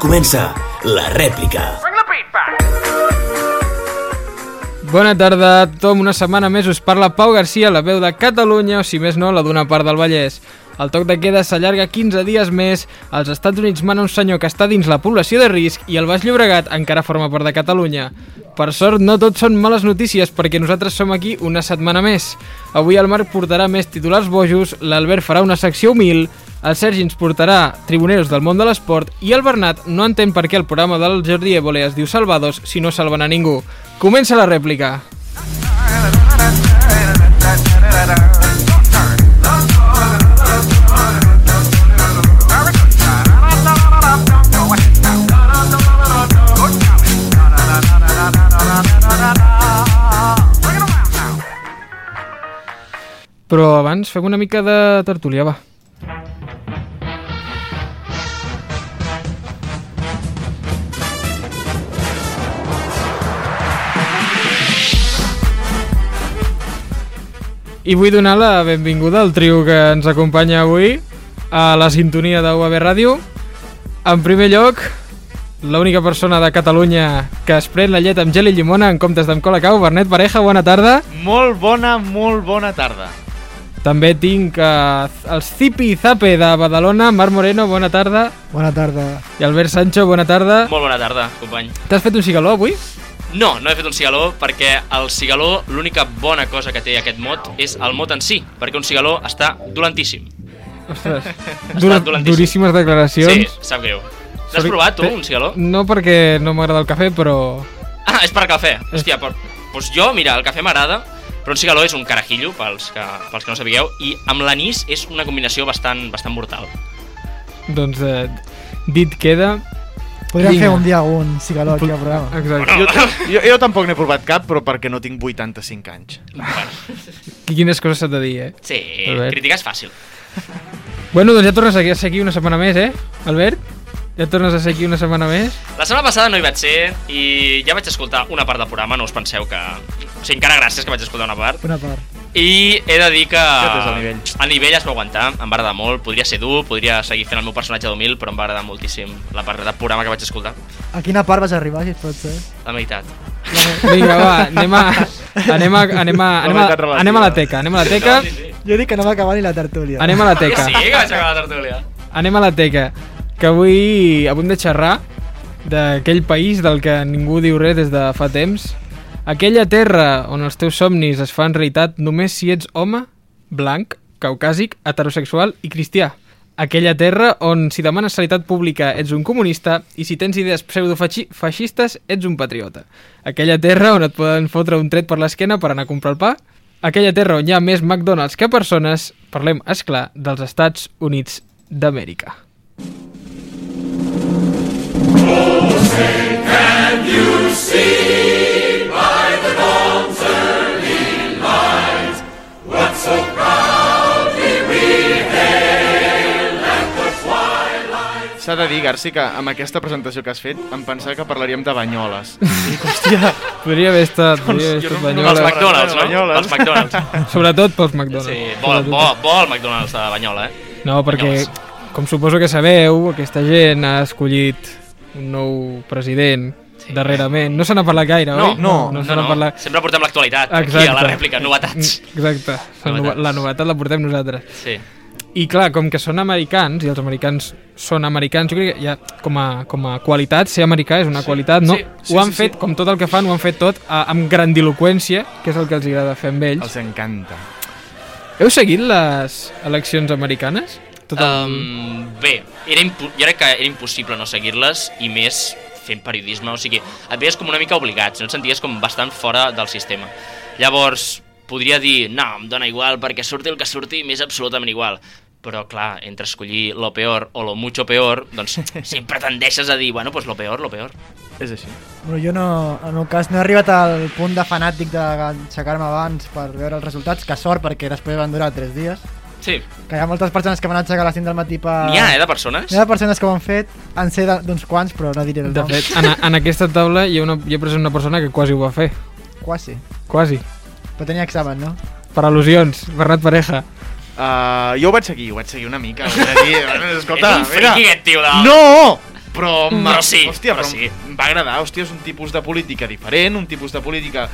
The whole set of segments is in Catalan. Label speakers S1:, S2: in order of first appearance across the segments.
S1: comença la rèplica.
S2: Bona tarda, Tom. Una setmana més us parla Pau Garcia, la veu de Catalunya, o si més no, la d'una part del Vallès. El toc de queda s'allarga 15 dies més, als Estats Units mana un senyor que està dins la població de risc i el Baix Llobregat encara forma part de Catalunya. Per sort, no tot són males notícies, perquè nosaltres som aquí una setmana més. Avui el Marc portarà més titulars bojos, l'Albert farà una secció humil, el Sergi ens portarà tribuneros del món de l'esport i el Bernat no entén per què el programa del Jordi Évole es diu Salvados si no salven a ningú. Comença la rèplica. Però abans fem una mica de tertúlia, va. I vull donar la benvinguda al trio que ens acompanya avui a la sintonia de UAB Ràdio. En primer lloc, l'única persona de Catalunya que es pren la llet amb gel i llimona en comptes d'amb cola cau, Bernet Pareja, bona tarda.
S3: Molt bona, molt bona tarda.
S2: També tinc eh, el Zipi Zape de Badalona, Marc Moreno, bona tarda.
S4: Bona tarda.
S2: I Albert Sancho, bona tarda.
S5: Molt bona tarda, company.
S2: T'has fet un cigaló avui?
S5: No, no he fet un cigaló perquè el cigaló, l'única bona cosa que té aquest mot és el mot en si, perquè un cigaló està dolentíssim.
S2: Ostres,
S5: Està
S2: dur
S5: dolentíssim.
S2: duríssimes
S5: Sí,
S2: declaracions.
S5: sap greu. L'has
S2: Sorry,
S5: provat, tu,
S2: pe-
S5: un cigaló?
S2: No perquè no m'agrada el cafè, però...
S5: Ah, és per cafè. Hòstia, per... pues jo, mira, el cafè m'agrada, però un cigaló és un carajillo, pels que, pels que no sapigueu, i amb l'anís és una combinació bastant, bastant mortal.
S2: Doncs eh, dit queda...
S4: Podríem
S2: Vinga.
S4: fer un dia un cigaló aquí al programa.
S2: Exacte.
S3: Jo, jo, jo tampoc n'he provat cap, però perquè no tinc 85 anys.
S2: Quines coses s'ha de dir, eh?
S5: Sí,
S2: Albert.
S5: criticar és fàcil.
S2: Bueno, doncs ja tornes a ser aquí una setmana més, eh, Albert? Ja tornes a ser aquí una setmana més?
S5: La setmana passada no hi vaig ser i ja vaig escoltar una part del programa, no us penseu que... O sigui, encara gràcies que vaig escoltar una part.
S4: Una part.
S5: I he de dir que...
S3: Aquest és el nivell.
S5: El nivell es va aguantar, em va agradar molt, podria ser dur, podria seguir fent el meu personatge d'humil, però em va agradar moltíssim la part del programa que vaig escoltar,
S4: A quina part vas arribar, si et pot ser?
S5: la meitat.
S2: Eh, Vinga, va, anem a... Anem a, anem a, anem
S3: veritat
S2: a,
S3: relativa.
S2: anem a la teca, anem a la teca,
S4: Jo dic que no va acabar ni la tertúlia.
S2: anem a la teca,
S5: Sí, que vaig acabar la tertúlia.
S2: anem a la teca, que avui, avui hem de xerrar d'aquell país del que ningú diu res des de fa temps, aquella terra on els teus somnis es fan realitat només si ets home, blanc, caucàsic, heterosexual i cristià. Aquella terra on si demanes sanitat pública ets un comunista i si tens idees pseudofeixistes ets un patriota. Aquella terra on et poden fotre un tret per l'esquena per anar a comprar el pa. Aquella terra on hi ha més McDonald's que persones, parlem, és clar, dels Estats Units d'Amèrica.
S3: S'ha de dir, Garci, que amb aquesta presentació que has fet em pensava que parlaríem de banyoles.
S2: Podria haver estat, podria haver
S3: jo
S2: estat
S3: no- no
S5: Els
S2: Banyoles,
S3: Banyoles.
S5: McDonald's, no?
S3: Banyoles.
S5: Els McDonald's.
S2: sobretot pels McDonald's.
S5: Sí, bo,
S2: Sobretot
S5: bo, bo el McDonald's de Banyola, eh?
S2: No, perquè,
S5: Banyoles.
S2: com suposo que sabeu, aquesta gent ha escollit un nou president sí. darrerament. No se n'ha parlat gaire,
S5: No,
S2: oi?
S3: no,
S2: no, se n'ha parlat...
S5: Sempre portem l'actualitat, aquí a la rèplica, novetats.
S2: Exacte, la, nova-
S5: Novetats.
S2: la novetat la portem nosaltres.
S5: Sí.
S2: I clar, com que són americans, i els americans són americans, jo crec que ja, com, a, com a qualitat, ser americà és una qualitat, no?
S5: sí,
S2: Sí, ho han fet, com tot el que fan, ho han fet tot a, amb grandiloquència, que és el que els agrada fer amb ells.
S3: Els encanta.
S2: Heu seguit les eleccions americanes? Tot el...
S5: Um, bé, era impo- jo crec que era impossible no seguir-les i més fent periodisme, o sigui, et veies com una mica obligats, no et senties com bastant fora del sistema. Llavors, podria dir, no, em dona igual perquè surti el que surti, m'és absolutament igual. Però, clar, entre escollir lo peor o lo mucho peor, doncs sempre tendeixes a dir, bueno, pues lo peor, lo peor.
S3: És així.
S4: Bueno, jo no, en el cas no he arribat al punt de fanàtic d'aixecar-me abans per veure els resultats, que sort perquè després van durar 3 dies,
S5: Sí,
S4: que hi ha moltes persones que van aixecar a les 5 del matí per...
S5: n'hi ha, eh, de persones?
S4: Hi ha persones que ho han fet, en sé de- d'uns quants, però no diré el
S2: De
S4: nom.
S2: fet, en, en aquesta taula hi ha, una, hi ha present una persona que quasi ho va fer.
S4: Quasi.
S2: Quasi.
S4: Però tenia examen, no?
S2: Per al·lusions, Bernat Pareja.
S3: Uh, jo ho vaig seguir, ho vaig seguir una mica. Ho vaig dir, bueno, escolta,
S5: és un friqui, aquest tio, de...
S3: No! Però,
S5: Però
S3: ma-
S5: sí,
S3: hòstia,
S5: però
S3: però
S5: sí.
S3: em va agradar, hòstia, és un tipus de política diferent, un tipus de política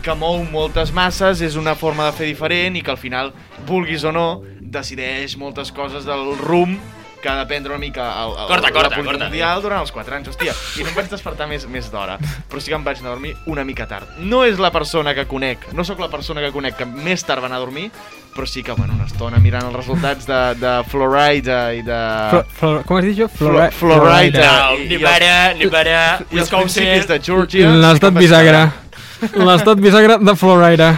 S3: que mou moltes masses, és una forma de fer diferent i que al final, vulguis o no, decideix moltes coses del rum que ha de prendre una mica el, el,
S5: Corta,
S3: la
S5: corta,
S3: política
S5: corta.
S3: mundial durant els 4 anys, hòstia. I no em vaig despertar més, més d'hora, però sí que em vaig anar a dormir una mica tard. No és la persona que conec, no sóc la persona que conec que més tard va anar a dormir, però sí que, bueno, una estona mirant els resultats de, de Florida i de...
S2: Flo, flo, com has dit jo?
S3: Ah. Flo- Florida.
S5: No,
S3: I- i-
S5: Nevada, Nevada,
S3: I els
S5: Wisconsin...
S3: principis de Georgia...
S2: L'estat bisagra. L'estat bisagra de Florida.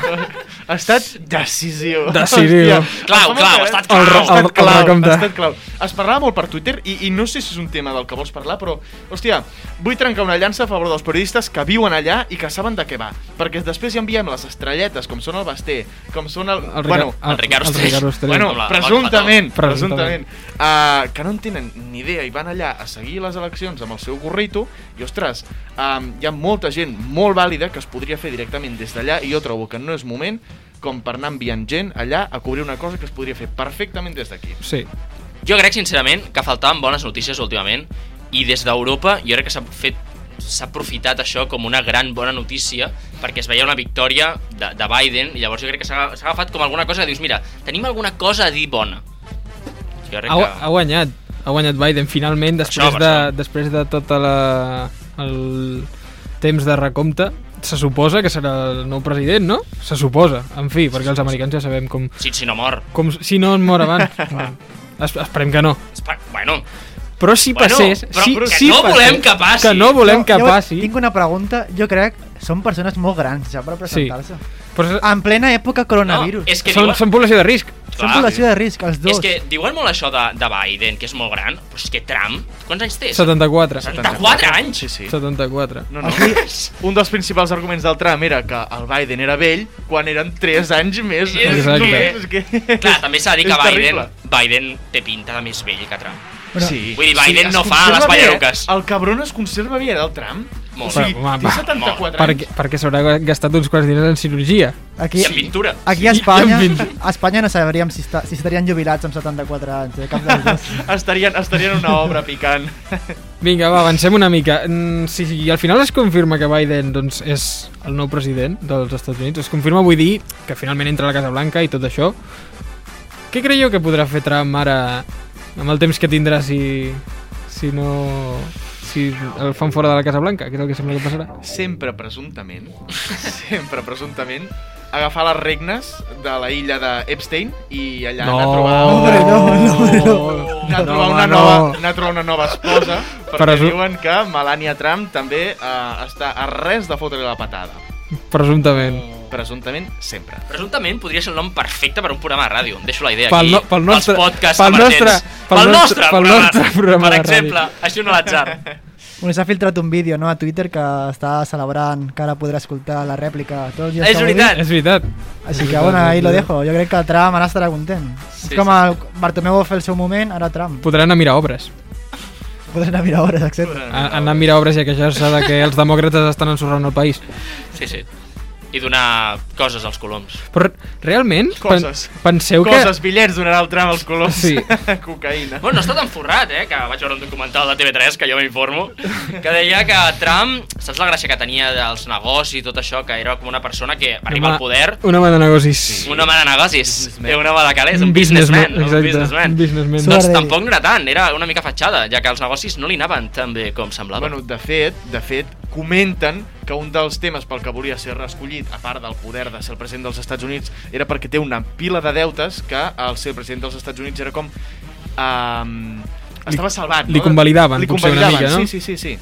S3: Ha estat decisiu.
S2: Decisiu.
S3: Hòstia,
S5: Clau,
S3: em fa molta-
S5: clau, ha estat
S2: El
S5: clau.
S2: re-
S3: Ha estat
S2: el
S3: clau,
S2: recompte.
S3: ha estat clau. Es parlava molt per Twitter i, i no sé si és un tema del que vols parlar, però, hòstia, vull trencar una llança a favor dels periodistes que viuen allà i que saben de què va. Perquè després hi enviem les estrelletes, com són el Basté, com són el...
S2: El Ricard-
S3: bueno,
S5: el Ricard Ostrell.
S2: Ricard Ostrell.
S3: Bueno,
S5: Amb la-
S2: amb
S3: presumptament,
S2: la-
S3: presumptament, uh, que no en tenen ni idea i van allà a seguir les eleccions amb el seu gorrito i, ostres, um, hi ha molta gent molt vàlida que es podria fer directament des d'allà i jo trobo que no és moment com per anar enviant gent allà a cobrir una cosa que es podria fer perfectament des d'aquí.
S2: Sí.
S5: Jo crec, sincerament, que faltaven bones notícies últimament i des d'Europa jo crec que s'ha fet s'ha aprofitat això com una gran bona notícia perquè es veia una victòria de, de Biden i llavors jo crec que s'ha s'ha agafat com alguna cosa que dius, mira, tenim alguna cosa a dir bona. Jo crec
S2: Ha,
S5: que...
S2: ha guanyat. Ha guanyat Biden finalment després,
S5: això, per
S2: de,
S5: això.
S2: després de tot la, el temps de recompte. Se suposa que serà el nou president, no? Se suposa. En fi, perquè els americans ja sabem com...
S5: Si, si no mor.
S2: com si no en mor abans. Bueno, es- Esperem que no.
S5: Espa- Bueno,
S2: Però si
S5: Bueno,
S2: passés...
S5: però-
S2: si,
S5: però que
S2: si
S5: no
S2: passés,
S5: volem que passi.
S2: Que no volem que
S4: Jo- jo
S2: passi.
S4: Tinc una pregunta, jo crec, són persones molt grans ja per presentar-se. Sí.
S2: Però ah,
S4: En plena època
S5: no,
S4: coronavirus.
S5: és que
S2: són,
S5: diuen...
S2: són població de risc.
S4: Són
S5: Clar.
S4: població de risc, els dos.
S5: És que diuen molt això de, de Biden, que és molt gran, però és que Trump, quants anys té?
S2: 74.
S5: 74 anys?
S3: Sí, sí.
S2: 74.
S3: No, no. Un dels principals arguments del Trump era que el Biden era vell quan eren 3 anys més.
S2: Exacte.
S3: només, és que...
S5: Clar, també s'ha de dir que
S3: és
S5: Biden,
S3: terrible.
S5: Biden té pinta de més vell que Trump.
S4: Bueno,
S3: Sí.
S5: Vull dir, Biden
S3: es
S5: no fa
S3: conserva bé,
S5: les
S3: eh?
S5: ballaruques.
S3: El cabron es conserva bé, el Trump.
S5: Molt.
S3: O sigui,
S2: Però, home,
S3: té
S2: va,
S3: 74
S2: Perquè,
S3: anys.
S2: perquè s'haurà gastat uns quants diners en cirurgia.
S4: Aquí,
S5: I en pintura.
S2: Ah.
S4: aquí a Espanya,
S2: I en vint.
S4: a Espanya no sabríem si, està, si estarien jubilats amb 74 anys, eh? cap dels dos.
S3: Estarien, estarien en una obra picant.
S2: Vinga, va, avancem una mica. Mm, Si, si al final es confirma que Biden doncs, és el nou president dels Estats Units, es confirma, vull dir, que finalment entra a la Casa Blanca i tot això, què creieu que podrà fer Trump ara amb el temps que tindrà si, si no... si el fan fora de la Casa Blanca, que és el que sembla que passarà?
S3: Sempre presumptament, sempre presumptament, agafar les regnes de la illa d'Epstein i allà anar a trobar...
S4: Hombre, no, no,
S3: Anar a trobar,
S2: No,
S3: una
S2: home,
S3: nova,
S2: no.
S3: anar a trobar una nova esposa, perquè
S2: Presu-
S3: diuen que Melania Trump també eh, està a res de fotre la patada.
S2: Presumptament.
S3: Presumptament, sempre.
S5: Presumptament podria ser el nom perfecte per un programa de ràdio. Em deixo la idea
S2: Pel
S5: aquí.
S2: no- pel nostre-
S5: Pels podcasts
S2: pel nostre-
S5: emergents.
S2: pel
S5: pel
S2: nostre-
S5: nostre,
S2: pel
S5: programa,
S2: nostre programa
S5: Per
S2: de ràdio.
S5: exemple, això no l'atzar.
S4: Bueno, s'ha filtrat un vídeo no, a Twitter que està celebrant que ara podrà escoltar la rèplica tot el dia.
S5: És veritat.
S2: És veritat.
S4: Així que, bueno, ahí lo dejo. Jo crec que Trump ara estarà content.
S5: Sí,
S4: és com el Bartomeu va fer el seu moment, ara Trump.
S2: Podrà anar a mirar obres.
S4: Podrà anar a mirar hores, etc.
S2: A, anar a mirar obres i a queixar-se de que els demòcrates estan ensorrant el país.
S5: Sí, sí. I donar coses als coloms.
S2: Però realment,
S3: Coses.
S2: penseu que...
S3: Coses, bitllets, donarà el tram als colors.
S2: Sí.
S3: Cocaïna.
S5: Bueno, no està tan forrat, eh, que vaig veure un documental de TV3, que jo m'informo, que deia que Trump, saps la gràcia que tenia dels negocis i tot això, que era com una persona que arriba al poder,
S2: Una mà de negocis.
S5: un home de negocis,
S3: Businessman.
S5: eh, un home de calés, un businessman, un
S2: exacte,
S5: businessman.
S2: Un businessman.
S4: Sort.
S5: Doncs
S4: Suarez.
S5: tampoc no era tant, era una mica fatxada, ja que els negocis no li anaven tan bé com semblava.
S3: Bueno, de fet, de fet, comenten que un dels temes pel que volia ser reescollit, a part del poder de ser el president dels Estats Units, era perquè té una pila de deutes que el ser president dels Estats Units era com... Um, estava salvat,
S2: li
S3: no?
S2: convalidaven,
S3: Li
S2: potser, una
S3: convalidaven,
S2: mica, no?
S3: sí, sí, sí, sí.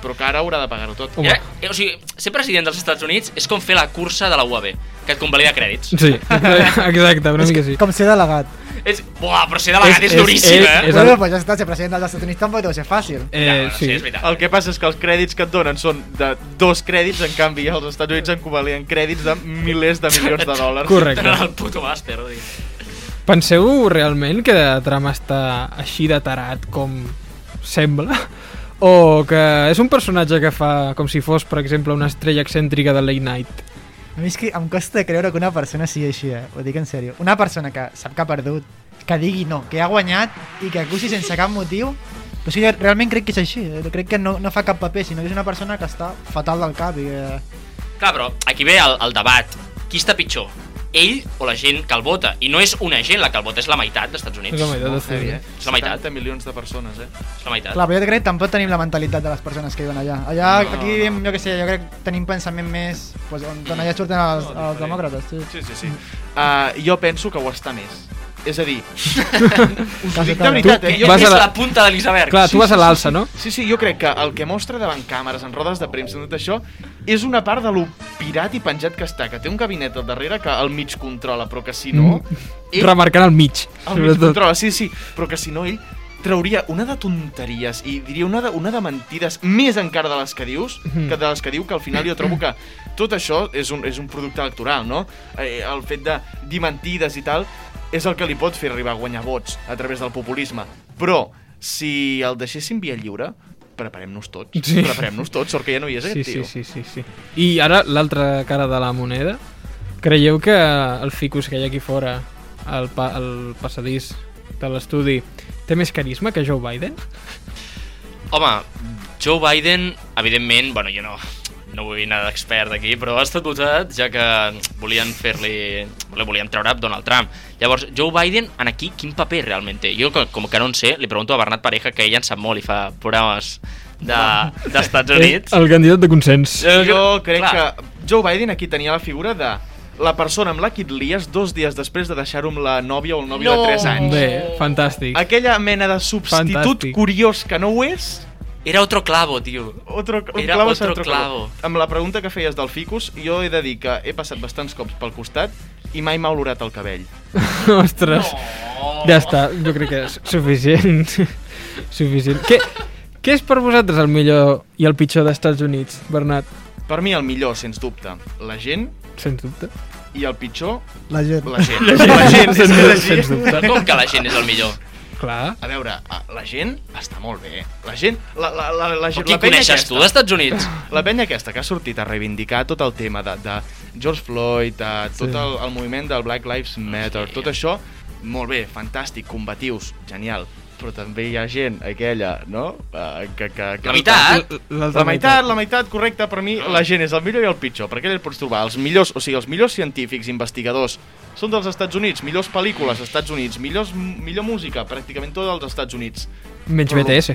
S3: Però que ara haurà de pagar-ho tot.
S2: Home.
S5: Era, eh, o sigui, ser president dels Estats Units és com fer la cursa de la UAB, que et convalida crèdits.
S2: Doncs, Sí, exacte, una mica sí.
S4: Com ser delegat.
S5: És, buah, però ser delegat és,
S2: és-
S5: és duríssim,
S2: és-
S5: eh?
S2: és-
S4: Bueno, pues ja està, ser president dels Estats Units tampoc deu ser fàcil.
S5: Ja,
S2: Eh,
S5: bueno,
S2: sí.
S5: és veritat.
S3: El que passa és que els crèdits que et donen són de dos crèdits, en canvi als Estats Units en convalien crèdits de milers de milions de dòlars.
S2: Correcte.
S5: Tenen el puto màster, vull dir.
S2: Penseu realment que Trump està així de tarat com sembla? O que és un personatge que fa com si fos, per exemple, una estrella excèntrica de Late Night?
S4: A mi és que em costa creure que una persona sigui així, eh? Ho dic en sèrio. Una persona que sap que ha perdut, que digui no, que ha guanyat i que acusi sense cap motiu, Però sí, realment crec que és així. eh, Crec que no, no fa cap paper, sinó que és una persona que està fatal del cap i eh, que...
S5: Clar, però aquí ve el, el debat. Qui està pitjor? Ell o la gent que el vota? I no és una gent la que el vota, és la meitat dels Estats Units.
S2: És la meitat
S3: Molt
S2: dels
S3: heavy, eh?
S2: Estats
S5: És la meitat.
S3: 70 milions de persones, eh?
S5: És la meitat.
S4: Clar, però jo crec que tampoc tenim la mentalitat de les persones que viuen allà. Allà,
S3: No.
S4: no. aquí, jo què sé, jo crec que tenim pensament més... Pues, on, on allà surten
S3: No,
S4: els,
S3: diferent.
S4: els demòcrates, sí.
S3: Sí, sí, sí. Uh, jo penso que ho està més. És a dir, us ho dic de
S4: Casi,
S3: veritat,
S5: Que
S3: eh? Jo,
S2: Vas
S5: és
S2: a la-
S5: la... punta de l'iceberg.
S2: Clar, tu vas a l'alça, no?
S3: sí, sí, jo crec que el que mostra davant càmeres, en rodes de premsa, tot això, és una part de lo pirat i penjat que està, que té un gabinet al darrere que al mig controla, però que si no...
S2: Mm.
S3: ell
S2: Remarcant al mig,
S3: El mig
S2: sobretot.
S3: controla, sí, sí, però que si no ell trauria una de tonteries i diria una de, una de mentides més encara de les que dius,
S2: Mhm.
S3: que de les que diu que al final jo trobo que tot això és un, és un producte electoral, no? Eh, el fet de dir mentides i tal és el que li pot fer arribar a guanyar vots a través del populisme. Però si el deixessin via lliure, preparem-nos tots.
S2: Sí.
S3: Preparem-nos tots, sort que ja no hi és
S2: Sí,
S3: aquest
S2: sí,
S3: tio.
S2: sí, sí, sí. I ara, l'altra cara de la moneda. Creieu que el ficus que hi ha aquí fora, al pa el passadís de l'estudi, té més carisma que Joe Biden?
S5: Home, Joe Biden, evidentment, bueno, jo no, no vull anar d'expert aquí, però ha estat votat, ja que volien fer-li... Le volien treure a Donald Trump. Llavors, Joe Biden, en aquí, quin paper realment té? Jo, com, com que no en sé, li pregunto a Bernat Pareja, que ell en sap molt i fa programes de- d'Estats de, Units.
S2: Eh, El candidat de consens.
S3: Eh, Jo crec que Joe Biden aquí tenia la figura de la persona amb la que et lies dos dies després de deixar-ho amb la nòvia o el nòvio
S5: No.
S3: de 3 anys.
S2: Bé, fantàstic.
S3: Aquella mena de substitut
S2: Fantàstic.
S3: curiós que no ho és,
S5: Era otro clavo, tio.
S3: otro, un
S5: Era
S3: clavo
S5: otro
S3: s'ha de trobar.
S5: clavo.
S3: Amb la pregunta que feies del ficus, jo he de dir que he passat bastants cops pel costat i mai m'ha olorat el cabell.
S2: Ostres. Ja està, jo crec que és suficient. suficient. Què, què és per vosaltres el millor i el pitjor d'Estats Units, Bernat?
S3: Per mi el millor, sens dubte, la gent
S2: Sens dubte.
S3: i el pitjor,
S4: La gent.
S3: la gent. La gent, és que la gent.
S2: Sens dubte.
S5: Però com que la gent és el millor?
S2: Clar.
S3: A veure, a- la gent està molt bé. eh? La gent... La, la, la, la,
S5: Però
S3: gent-
S5: qui
S3: la penya
S5: coneixes
S3: aquesta-
S5: tu d'Estats Units?
S3: La penya aquesta que ha sortit a reivindicar tot el tema de, de George Floyd, de
S2: Sí.
S3: tot el, el moviment del Black Lives Matter, tot això, molt bé, fantàstic, combatius, genial, però també hi ha gent aquella, no? Uh, que, que, que
S5: La meitat?
S3: La meitat, la meitat, correcte, per mi la gent és el millor i el pitjor, perquè ell pots trobar els millors, o sigui, els millors científics, investigadors, són dels Estats Units, millors pel·lícules, Estats Units, millors, millor música, pràcticament tot dels Estats Units.
S2: Menys BTS.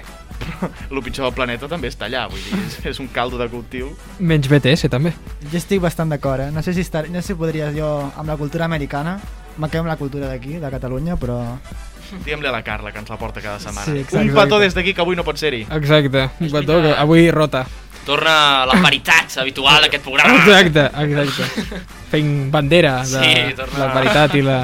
S3: El pitjor del planeta també està allà, vull dir, és, és un caldo de cultiu.
S2: Menys BTS, també.
S4: Jo estic bastant d'acord, eh? No sé si, estar, no sé si podria jo amb la cultura americana, me quedo amb la cultura d'aquí, de Catalunya, però...
S3: Diguem-li a la Carla, que ens la porta cada setmana.
S4: Sí, exacte.
S3: un petó des d'aquí, que avui no pot ser-hi.
S2: Exacte. Un petó que
S5: veritat.
S2: avui rota.
S5: Torna a la paritat habitual d'aquest
S3: Ah!
S5: programa.
S2: Exacte, exacte. Fent bandera de
S5: Sí, torna.
S2: la paritat i la...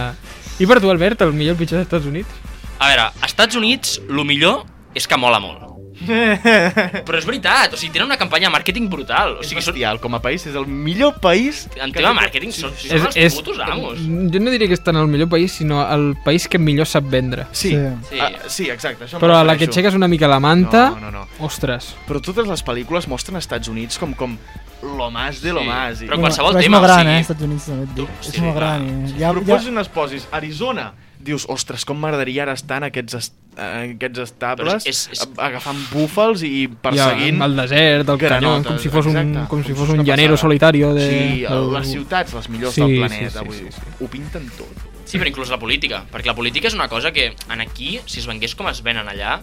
S2: I per tu, Albert, el millor i el pitjor d'Estats Units?
S5: A veure, a Estats Units, lo millor és que mola molt. Però és veritat, o sigui, tenen una campanya de màrqueting brutal.
S3: O
S5: O sigui,
S3: sigui,
S5: són,
S3: bestial, com a país, és el millor país...
S5: en
S3: que
S5: tema
S3: té-
S5: màrqueting són,
S3: Sí,
S5: són els putos amos.
S2: Jo no diria que estan al millor país, sinó el país que millor sap vendre.
S3: Sí,
S4: Sí.
S3: sí. Ah, sí exacte. Això em
S2: Però a la que
S3: refereixo.
S2: aixeques una mica la manta...
S3: No, no, no.
S2: Ostres.
S3: Però totes les pel·lícules mostren als Estats Units com com lo más de lo
S5: Sí,
S3: más. I...
S5: però quan- qualsevol
S4: però
S5: tema,
S4: és molt
S5: o
S4: gran,
S5: sigui-
S4: eh? Estats Units, també et dic.
S5: Tu-
S4: és
S5: sí,
S4: molt
S5: clar,
S4: gran.
S5: sí.
S4: Eh?
S3: Ja, Proposin ja... es posis Arizona, dius, ostres, com m'agradaria ara estar en aquests, est en aquests estables,
S5: Però és- és-
S3: agafant búfals i perseguint...
S2: Ja, el desert, el canyó,
S3: granotes,
S2: com si fos un,
S3: exacte,
S2: com si fos
S3: una
S2: un llanero
S3: passada.
S2: solitario de...
S3: Sí,
S2: del-
S3: les ciutats, les millors
S2: Sí,
S3: del
S2: sí,
S3: planeta,
S2: sí,
S3: vull
S2: sí,
S3: dir,
S2: sí.
S3: ho pinten tot.
S5: Sí, però inclús la política. Perquè la política és una cosa que, en aquí, si es vengués com es venen allà,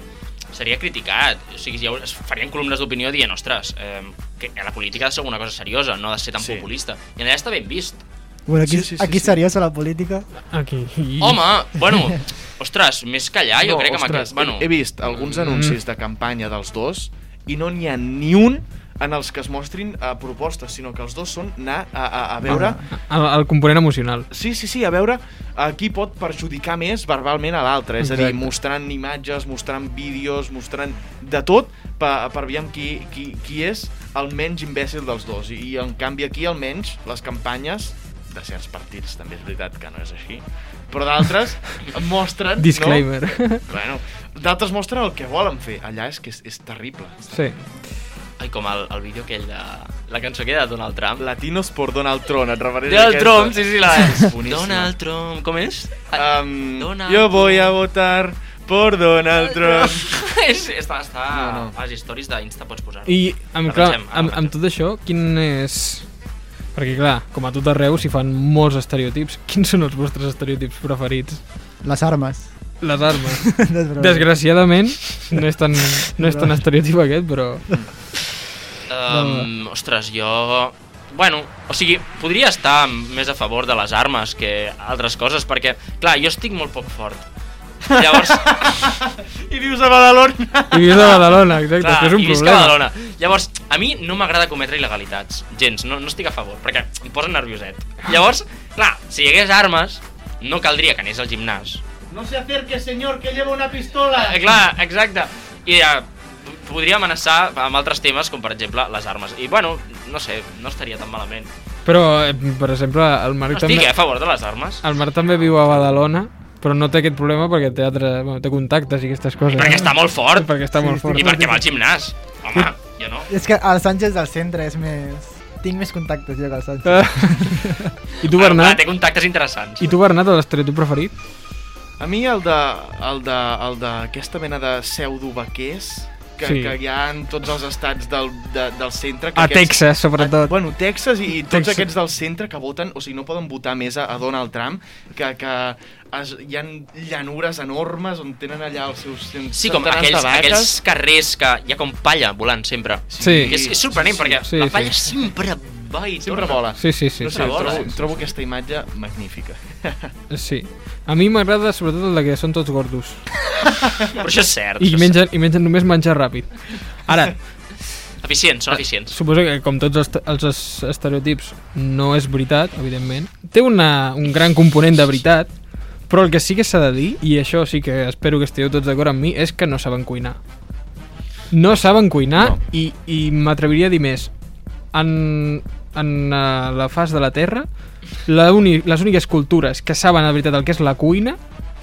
S5: seria criticat. O sigui, ja es farien columnes d'opinió dient, ostres, eh, que la política ha de ser una cosa seriosa, no ha de ser tan
S3: Sí.
S5: sí. populista. I allà està ben vist.
S4: Bueno, aquí,
S3: Sí, sí, sí,
S4: aquí
S3: sí.
S4: seriosa la política.
S2: Aquí.
S5: Home, bueno, ostres, més que allà, Ah, jo crec que... amb
S3: ostres,
S5: aquest- bueno,
S3: he, he vist alguns anuncis
S2: Mm.
S3: de campanya dels dos i no n'hi ha ni un en els que es mostrin uh, propostes, sinó que els dos són anar a, a, a veure...
S2: El, el component emocional.
S3: Sí, sí, sí, a veure a qui pot perjudicar més verbalment a l'altre, és a dir,
S2: Exacte.
S3: mostrant imatges, mostrant vídeos, mostrant de tot per, per veure qui, qui, qui és el menys imbècil dels dos. I, I en canvi aquí, almenys, les campanyes de certs partits, també és veritat que no és així, però d'altres mostren... No?
S2: Disclaimer.
S3: Bueno, d'altres mostren el que volen fer. Allà és que és, és terrible.
S2: Sí.
S5: Ai, com el, el vídeo aquell de... La cançó aquella de Donald Trump.
S3: Latinos por Donald Trump, et refereix a
S5: Donald
S3: aquesta?
S5: Trump, sí, sí, la... Ah,
S3: És boníssima.
S5: Donald Trump, com és?
S3: Um,
S5: Donald
S3: yo voy a votar por Donald Trump.
S5: Ah, és, està, està
S3: No,
S5: no,
S3: no.
S5: no. a les històries d'Insta pots posar-ho.
S2: I amb,
S5: Ara
S2: clar,
S5: pensem, ara
S2: amb,
S5: pensem.
S2: amb tot això, quin és... Perquè clar, com a tot arreu s'hi fan molts estereotips. Quins són els vostres estereotips preferits?
S4: Les armes.
S2: Les armes.
S4: Desbrava.
S2: Desgraciadament, no és tan, no és tan estereotip aquest, però...
S5: Um, ostres, jo... Bueno, o sigui, podria estar més a favor de les armes que altres coses, perquè, clar, jo estic molt poc fort. Llavors,
S3: I vius a Badalona.
S2: I vius a Badalona, exacte,
S5: clar,
S2: això és un
S5: i visc a
S2: problema.
S5: Badalona. Llavors, a mi no m'agrada cometre il·legalitats, gens, no, no estic a favor, perquè em posa nervioset. Llavors, clar, si hi hagués armes, no caldria que anés al gimnàs.
S3: No se acerque, señor, que lleva una pistola.
S5: Eh, clar, exacte. I ja, p- podria amenaçar amb altres temes, com per exemple les armes. I bueno, no sé, no estaria tan malament.
S2: Però, eh, per exemple, el Marc,
S5: Estic eh,
S2: també, Ah,
S5: a favor de les armes.
S2: el Marc també viu a Badalona, però no té aquest problema perquè té, altre, bueno, té contactes i aquestes coses.
S5: Perquè està molt fort.
S2: Perquè està molt fort.
S5: I perquè va al gimnàs. Home, jo no.
S4: És que el Sánchez del centre és més... Tinc més contactes jo que el Sánchez.
S5: Ah.
S2: Eh, I tu,
S5: Bueno, Ah, clar,
S2: Bernat?
S5: té contactes interessants.
S2: I tu, Bernat, l'estereotip preferit?
S3: A mi el de, el de, el de aquesta mena de pseudo-vaquers que,
S2: Sí.
S3: sí. que hi ha en tots els estats del, de, del centre... Que
S2: A
S3: aquests-
S2: Texas, sobretot.
S3: Ah, Bueno, Texas i tots
S2: Texas.
S3: aquests del centre que voten, o sigui, no poden votar més a, a Donald Trump, que, que es, hi ha llanures enormes on tenen allà els seus cent-
S5: Sí, com
S3: centenars
S5: aquells,
S3: de vaques.
S5: aquells carrers que hi ha com palla volant sempre.
S2: Sí.
S5: Que és, és sorprenent,
S3: sí, sí.
S5: perquè
S2: Sí,
S5: la
S2: sí.
S5: palla sempre va i
S3: Sempre
S5: torna.
S3: vola.
S2: Sí, sí, sí.
S3: No sé,
S5: Sempre vola.
S3: trobo, trobo aquesta imatge magnífica.
S2: Sí. A mi m'agrada sobretot el de que són tots gordos.
S5: Però això és cert.
S2: I
S5: això és
S2: mengen, i mengen només menjar ràpid. Ara,
S5: cert. Eficients, són eficients.
S2: suposo que com tots els, te- els es- estereotips no és veritat, evidentment. Té una, un gran component de veritat, però el que sí que s'ha de dir, i això sí que espero que estigueu tots d'acord amb mi, és que no saben cuinar. No saben cuinar no.
S3: No.
S2: i, i m'atreviria a dir més. En, en eh, la faç de la Terra, la uni, les úniques cultures que saben de veritat el que és la cuina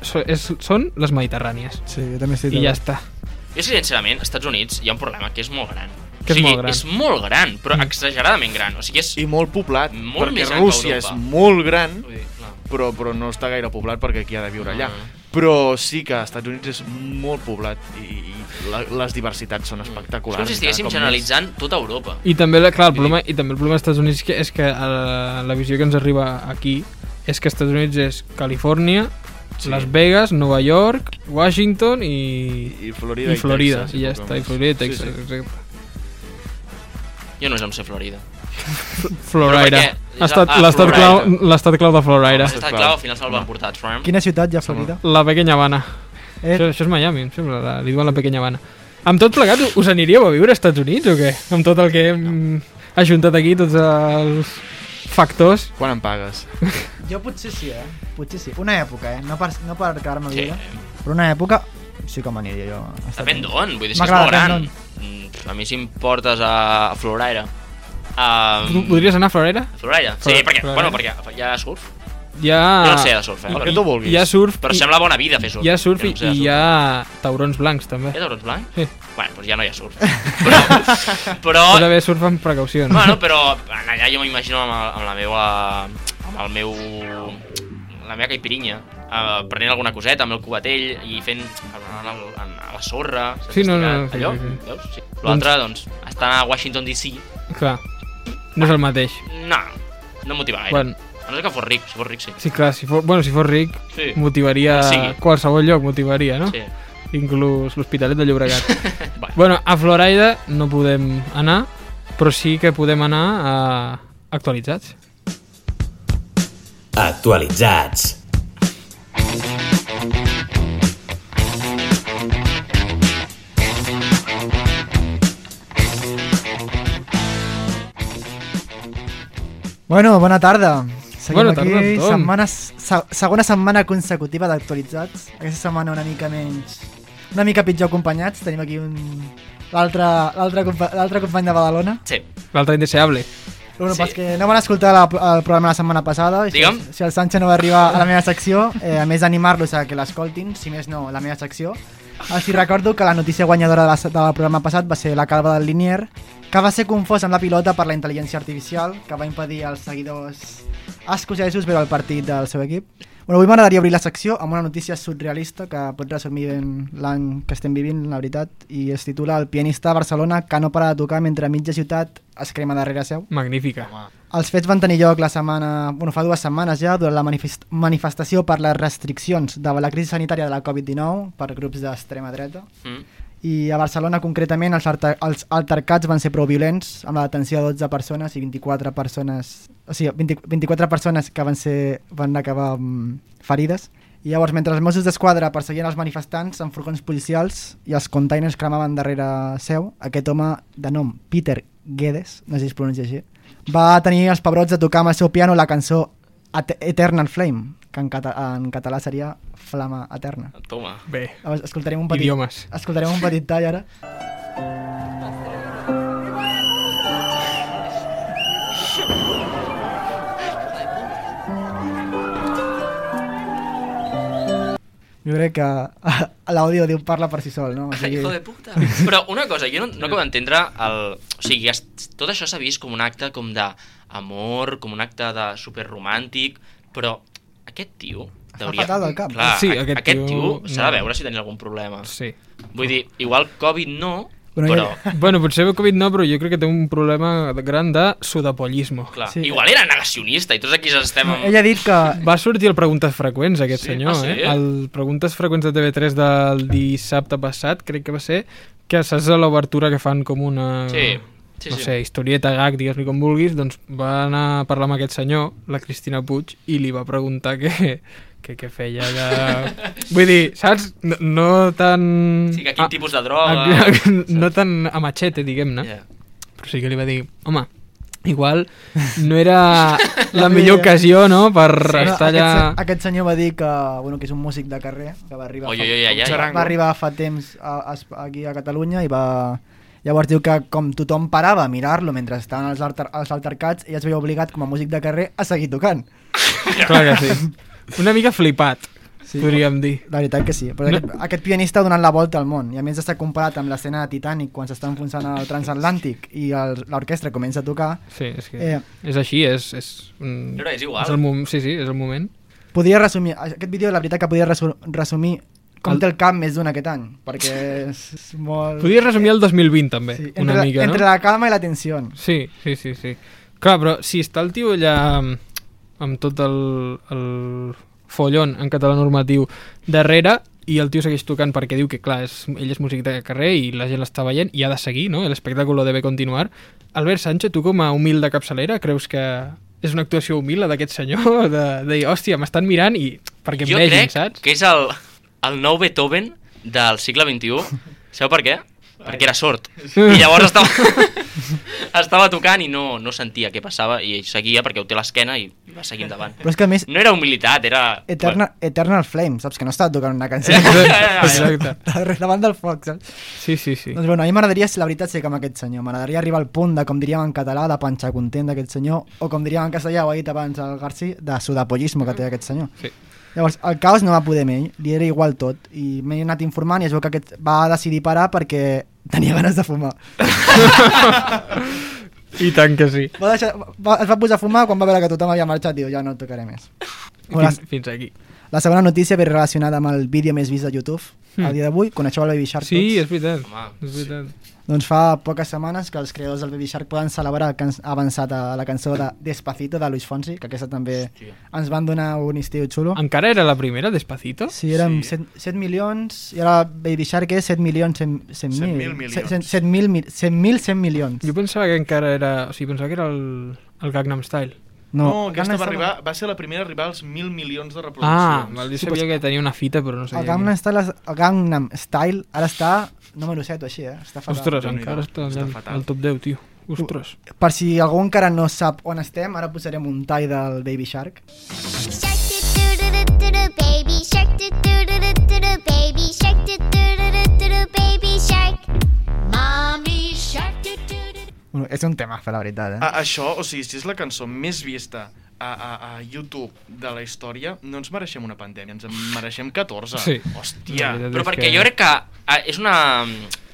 S2: so, és, són les mediterrànies.
S4: Sí, jo també estic
S2: I ja
S4: d'acord.
S2: està.
S5: Jo, sincerament, als Estats Units hi ha un problema que és molt gran.
S2: Que és
S5: o sigui,
S2: molt gran.
S5: És molt gran, però exageradament gran. O sigui, és...
S3: I molt poblat,
S5: Molt
S3: perquè
S5: més gran que
S3: Rússia és
S5: Europa.
S3: molt gran,
S5: Vull dir, clar.
S3: però, però no està gaire poblat perquè qui ha de viure allà.
S5: Ah.
S3: Però sí que als Estats Units és molt poblat i, i la, les diversitats són
S5: Mm. És
S3: espectaculars.
S5: com si
S3: cada
S5: estiguéssim
S3: cop més.
S5: generalitzant tota Europa.
S2: I també, la- clar, el problema, i també el problema dels Estats Units que- és que eh, la, la visió que ens arriba aquí és que Estats Units és Califòrnia, sí. Las Vegas, Nova York, Washington i,
S3: I
S2: i,
S3: Florida i,
S2: Florida.
S3: Texas,
S2: I ja
S3: poc
S2: està, i
S3: més.
S2: Florida i Texas,
S3: Sí, sí.
S2: exacte.
S5: Jo no és amb ser Florida.
S2: Florida.
S5: perquè-
S2: Estat-
S5: Ah,
S2: L'estat clau,
S5: Florida.
S2: l'estat clau de Florida.
S5: Està clar, al final se'l van portar Trump.
S4: Quina ciutat hi ha a Florida?
S2: La pequeña Habana.
S4: Eh,
S2: Això, això és Miami, em sembla, la, li diuen la pequeña Habana. Amb tot plegat, us aniríeu a viure als Estats Units o què? Amb tot el que hem ajuntat aquí, tots els factors.
S3: Quan em pagues?
S4: jo potser sí, eh? Potser sí. Una època, eh? No per, no per quedar-me a
S5: Sí.
S4: viure. Però una època sí que m'aniria jo. a Estats
S5: Depèn
S4: Units.
S5: d'on, vull dir, és que és
S4: M'agrada,
S5: molt gran.
S4: depèn
S5: Mm, A mi si em portes a a Florida... A...
S2: Tu podries anar a Florida?
S5: A Florida? Sí,
S2: Florida.
S5: perquè,
S2: Florida. Ah,
S5: bueno, perquè hi ha surf.
S2: Ja...
S5: Jo no sé de surf, eh?
S3: El que
S5: Però,
S3: tu vulguis.
S2: Hi ha surf,
S5: però
S2: i-
S5: sembla bona vida fer surf. Eh,
S2: hi ha surf
S5: Jo
S2: i,
S5: no sé de
S2: i hi ha taurons blancs, també.
S5: Hi ha taurons blancs?
S2: Sí.
S5: Bueno, doncs ja no hi ha surf. Però, però,
S2: Has d'haver surf amb precaució, no?
S5: bueno, però allà jo m'imagino amb, el- amb la meva... amb el meu... la meva caipirinha, eh, prenent alguna coseta amb el cubatell i fent en, el, en, a la sorra, saps?
S2: Sí, no, no,
S5: Estirar allò,
S2: sí, sí, sí.
S5: veus? Sí. L'altre, doncs, estar a Washington DC,
S2: Clar, no és el mateix.
S5: no, no motiva gaire.
S2: Bueno,
S5: A no sé que fos ric, si fos ric sí.
S2: sí, clar, si fos, bueno, si fos ric,
S5: Sí.
S2: motivaria...
S5: Que sigui.
S2: Qualsevol lloc motivaria, no?
S5: Sí.
S2: Inclús l'Hospitalet de Llobregat.
S5: Bueno,
S2: bueno, a Florida no podem anar, però sí que podem anar a actualitzats.
S1: Actualitzats.
S4: Bueno, bona tarda. Seguim
S2: Bona
S4: aquí,
S2: tarda, Anton.
S4: setmana, se- segona setmana consecutiva d'actualitzats. Aquesta setmana una mica menys... Una mica pitjor acompanyats. Tenim aquí un... L'altre l'altre compa l'altre company de Badalona.
S5: sí.
S2: L'altre indeseable.
S4: Però bueno,
S5: Sí.
S4: sí. que no van escoltar la, el programa la setmana passada. i si-
S5: Digue'm.
S4: Si el Sánchez no va arribar a la meva secció, eh, a més animar-los a que l'escoltin, si més no, la meva secció. Els hi recordo que la notícia guanyadora de la, se- del programa passat va ser la calva del Linier, que va ser confosa amb la pilota per la intel·ligència artificial, que va impedir als seguidors escocesos veure el partit del seu equip. Bueno, avui m'agradaria obrir la secció amb una notícia surrealista que pot resumir ben l'any que estem vivint, la veritat, i es titula El pianista a Barcelona que no para de tocar mentre mitja ciutat es crema darrere seu.
S2: Magnífica.
S4: Els fets van tenir lloc la setmana, bueno, fa dues setmanes ja, durant la manifest manifestació per les restriccions de la crisi sanitària de la Covid-19 per grups d'extrema dreta.
S5: Mm.
S4: I a Barcelona, concretament, els, alter els altercats van ser prou violents, amb la detenció de 12 persones i 24 persones... O sigui, 20, 24 persones que van, ser, van acabar um, ferides. I llavors, mentre els Mossos d'Esquadra perseguien els manifestants amb furgons policials i els containers cremaven darrere seu, aquest home de nom Peter Guedes, no sé si es pronuncia així, va tenir els pebrots de tocar amb el seu piano la cançó Et- Eternal Flame, que en, cata en català seria Flama Eterna.
S5: Toma.
S2: Bé.
S4: Llavors, escoltarem un petit...
S2: Idiomes.
S4: Escoltarem un petit tall ara. Jo crec que ah, l'àudio diu parla per si sol, no? O sigui,
S5: Hijo de puta. Però una cosa, jo no, no acabo d'entendre el... O sigui, es, tot això s'ha vist com un acte com de amor, com un acte de superromàntic, però aquest tio...
S4: Està fatal del cap.
S5: Clar,
S2: Sí,
S5: a-
S2: aquest
S5: aquest tio
S2: tio,
S5: s'ha de
S2: no.
S5: veure si tenia algun problema.
S2: Sí.
S5: Vull dir, igual Covid no,
S4: Bueno,
S5: bueno,
S4: ja-
S5: però...
S2: Bueno, potser el Covid no, però jo crec que té un problema gran de sudapollismo.
S5: Clar,
S4: Sí.
S5: sí. igual era negacionista i tots aquí estem... Amb...
S4: ell ha dit que...
S2: Va sortir el Preguntes Freqüents, aquest
S5: Sí?
S2: senyor,
S5: Ah, sí?
S2: eh? El Preguntes Freqüents de TV3 del dissabte passat, crec que va ser, que saps a l'obertura que fan com una...
S5: Sí, sí,
S2: no
S5: sí.
S2: sé, historieta, gag, digues-li com vulguis, doncs va anar a parlar amb aquest senyor, la Cristina Puig, i li va preguntar que, que, que feia de... Vull dir, saps? No, no tan...
S5: Sí, que quin
S2: Ah,
S5: tipus de droga...
S2: no tan a machete, diguem-ne.
S5: Yeah.
S2: però sí que li va dir, home, igual no era la millor ocasió, no?, per
S4: Bueno,
S2: estar allà...
S4: Aquest, se- aquest senyor va dir que, bueno, que és un músic de carrer, que va arribar,
S5: Oi,
S4: fa,
S5: oi, oi, ai, ai.
S4: va arribar fa temps a, a, aquí a Catalunya i va... Llavors diu que com tothom parava a mirar-lo mentre estaven els, alter, els altercats, ell es veia obligat com a músic de carrer a seguir tocant.
S2: Clar que sí. Una mica flipat,
S4: Sí.
S2: sí. podríem dir.
S4: La veritat que sí. Però
S2: No.
S4: no. aquest, aquest pianista ha donat la volta al món i a més està comparat amb l'escena de Titanic quan s'està enfonsant el transatlàntic i el- l'orquestra comença a tocar.
S2: Sí, és que
S4: Eh.
S2: eh. és així, és... és, un...
S5: No, no, és igual.
S2: És el mom... Sí, sí, és el moment.
S4: Podria resumir... Aquest vídeo la veritat que podria resu resumir com
S2: El-
S4: té el cap més d'un aquest any perquè és, és molt...
S2: Podries resumir el 2020, també,
S4: Eh. Sí,
S2: sí,
S4: entre,
S2: una
S4: la-
S2: mica,
S4: entre
S2: no?
S4: la calma i la tensió.
S2: Sí, sí, sí, sí. Clar, però si està el tio allà amb- amb tot el, el follon en català normatiu darrere i el tio segueix tocant perquè diu que, clar, és, ell és músic de carrer i la gent l'està veient i ha de seguir, no? L'espectacle debe continuar. Albert Sancho, tu com a humil de capçalera, creus que és una actuació humil la d'aquest senyor? De, de dir, hòstia, m'estan mirant i perquè em
S5: jo
S2: vegin,
S5: crec
S2: saps?
S5: que és el, el nou Beethoven del segle XXI. Sabeu per què? Perquè era sort. I llavors estava, estava tocant i no, no sentia què passava i ell seguia perquè ho té a l'esquena i va seguir endavant.
S4: Però és que a
S2: Mm.
S4: més,
S5: No era humilitat, era...
S4: Eternal, Eternal Flame, saps? Que no estava tocant una cançó.
S2: Exacte.
S4: Davant del foc, saps?
S2: Sí, sí, sí.
S4: Doncs bueno, a mi m'agradaria, si la veritat, ser com aquest senyor. M'agradaria arribar al punt de, com diríem en català, de panxa content d'aquest senyor, o com diríem en castellà, ho ha dit abans el Garci, de sudapollismo que té aquest senyor.
S2: Mm. Sí.
S4: Llavors, el caos no va poder més, li era igual tot, i m'he anat informant i es veu que aquest va decidir parar perquè tenia ganes de fumar.
S2: I tant que sí.
S4: Va deixar, va, es va posar a fumar quan va veure que tothom havia marxat, diu, ja no tocaré més. Bueno,
S2: Fins, fins aquí.
S4: La segona notícia ve relacionada amb el vídeo més vist de YouTube mm. a dia d'avui. Coneixeu el Baby
S2: Hmm.
S4: Shark
S2: Sí, és
S4: tots?
S2: veritat.
S5: Home,
S2: és veritat.
S4: Doncs fa poques setmanes que els creadors del Baby Shark poden celebrar que ens ha avançat a la cançó de Despacito de Luis Fonsi, que aquesta també Hòstia. ens van donar un estiu xulo.
S2: Encara era la primera, Despacito?
S4: Sí, érem sí. 7, 7 milions, i ara Baby Shark és 7 milions 100
S3: 7.000
S4: 100.000.
S3: milions.
S4: 7.100 milions.
S2: Jo pensava que encara era... O sigui, pensava que era el, el Gangnam Style.
S3: No, no aquesta va,
S4: Gangnam Style-
S3: arribar, va ser la primera a arribar als mil milions de
S2: Ah,
S3: reproduccions.
S2: val, jo
S4: Sí,
S2: sabia
S4: pues-
S2: que tenia una fita, però no
S4: El
S2: sabia...
S4: Gangnam Style, el Gangnam Style ara està número 7 o així, eh? Està fatal.
S2: Ostres,
S3: Déu-n'hi-do.
S2: encara està
S3: Està
S2: allà al-
S3: fatal.
S2: al top 10, tio. Ostres.
S4: Per si algú encara no sap on estem, ara posarem un tall del Baby Shark.
S6: Shark doo doo doo doo doo doo baby shark doo doo doo doo doo doo baby shark doo doo doo doo doo doo baby shark Mommy shark doo doo doo
S4: Bueno, és un tema, la veritat, eh?
S3: A, això, o sigui, si és la cançó més vista a, a, a YouTube de la història, no ens mereixem una pandèmia, ens en mereixem 14.
S2: Sí.
S3: Hòstia.
S2: La veritat
S5: Però
S2: és
S5: perquè jo crec que ah, és una...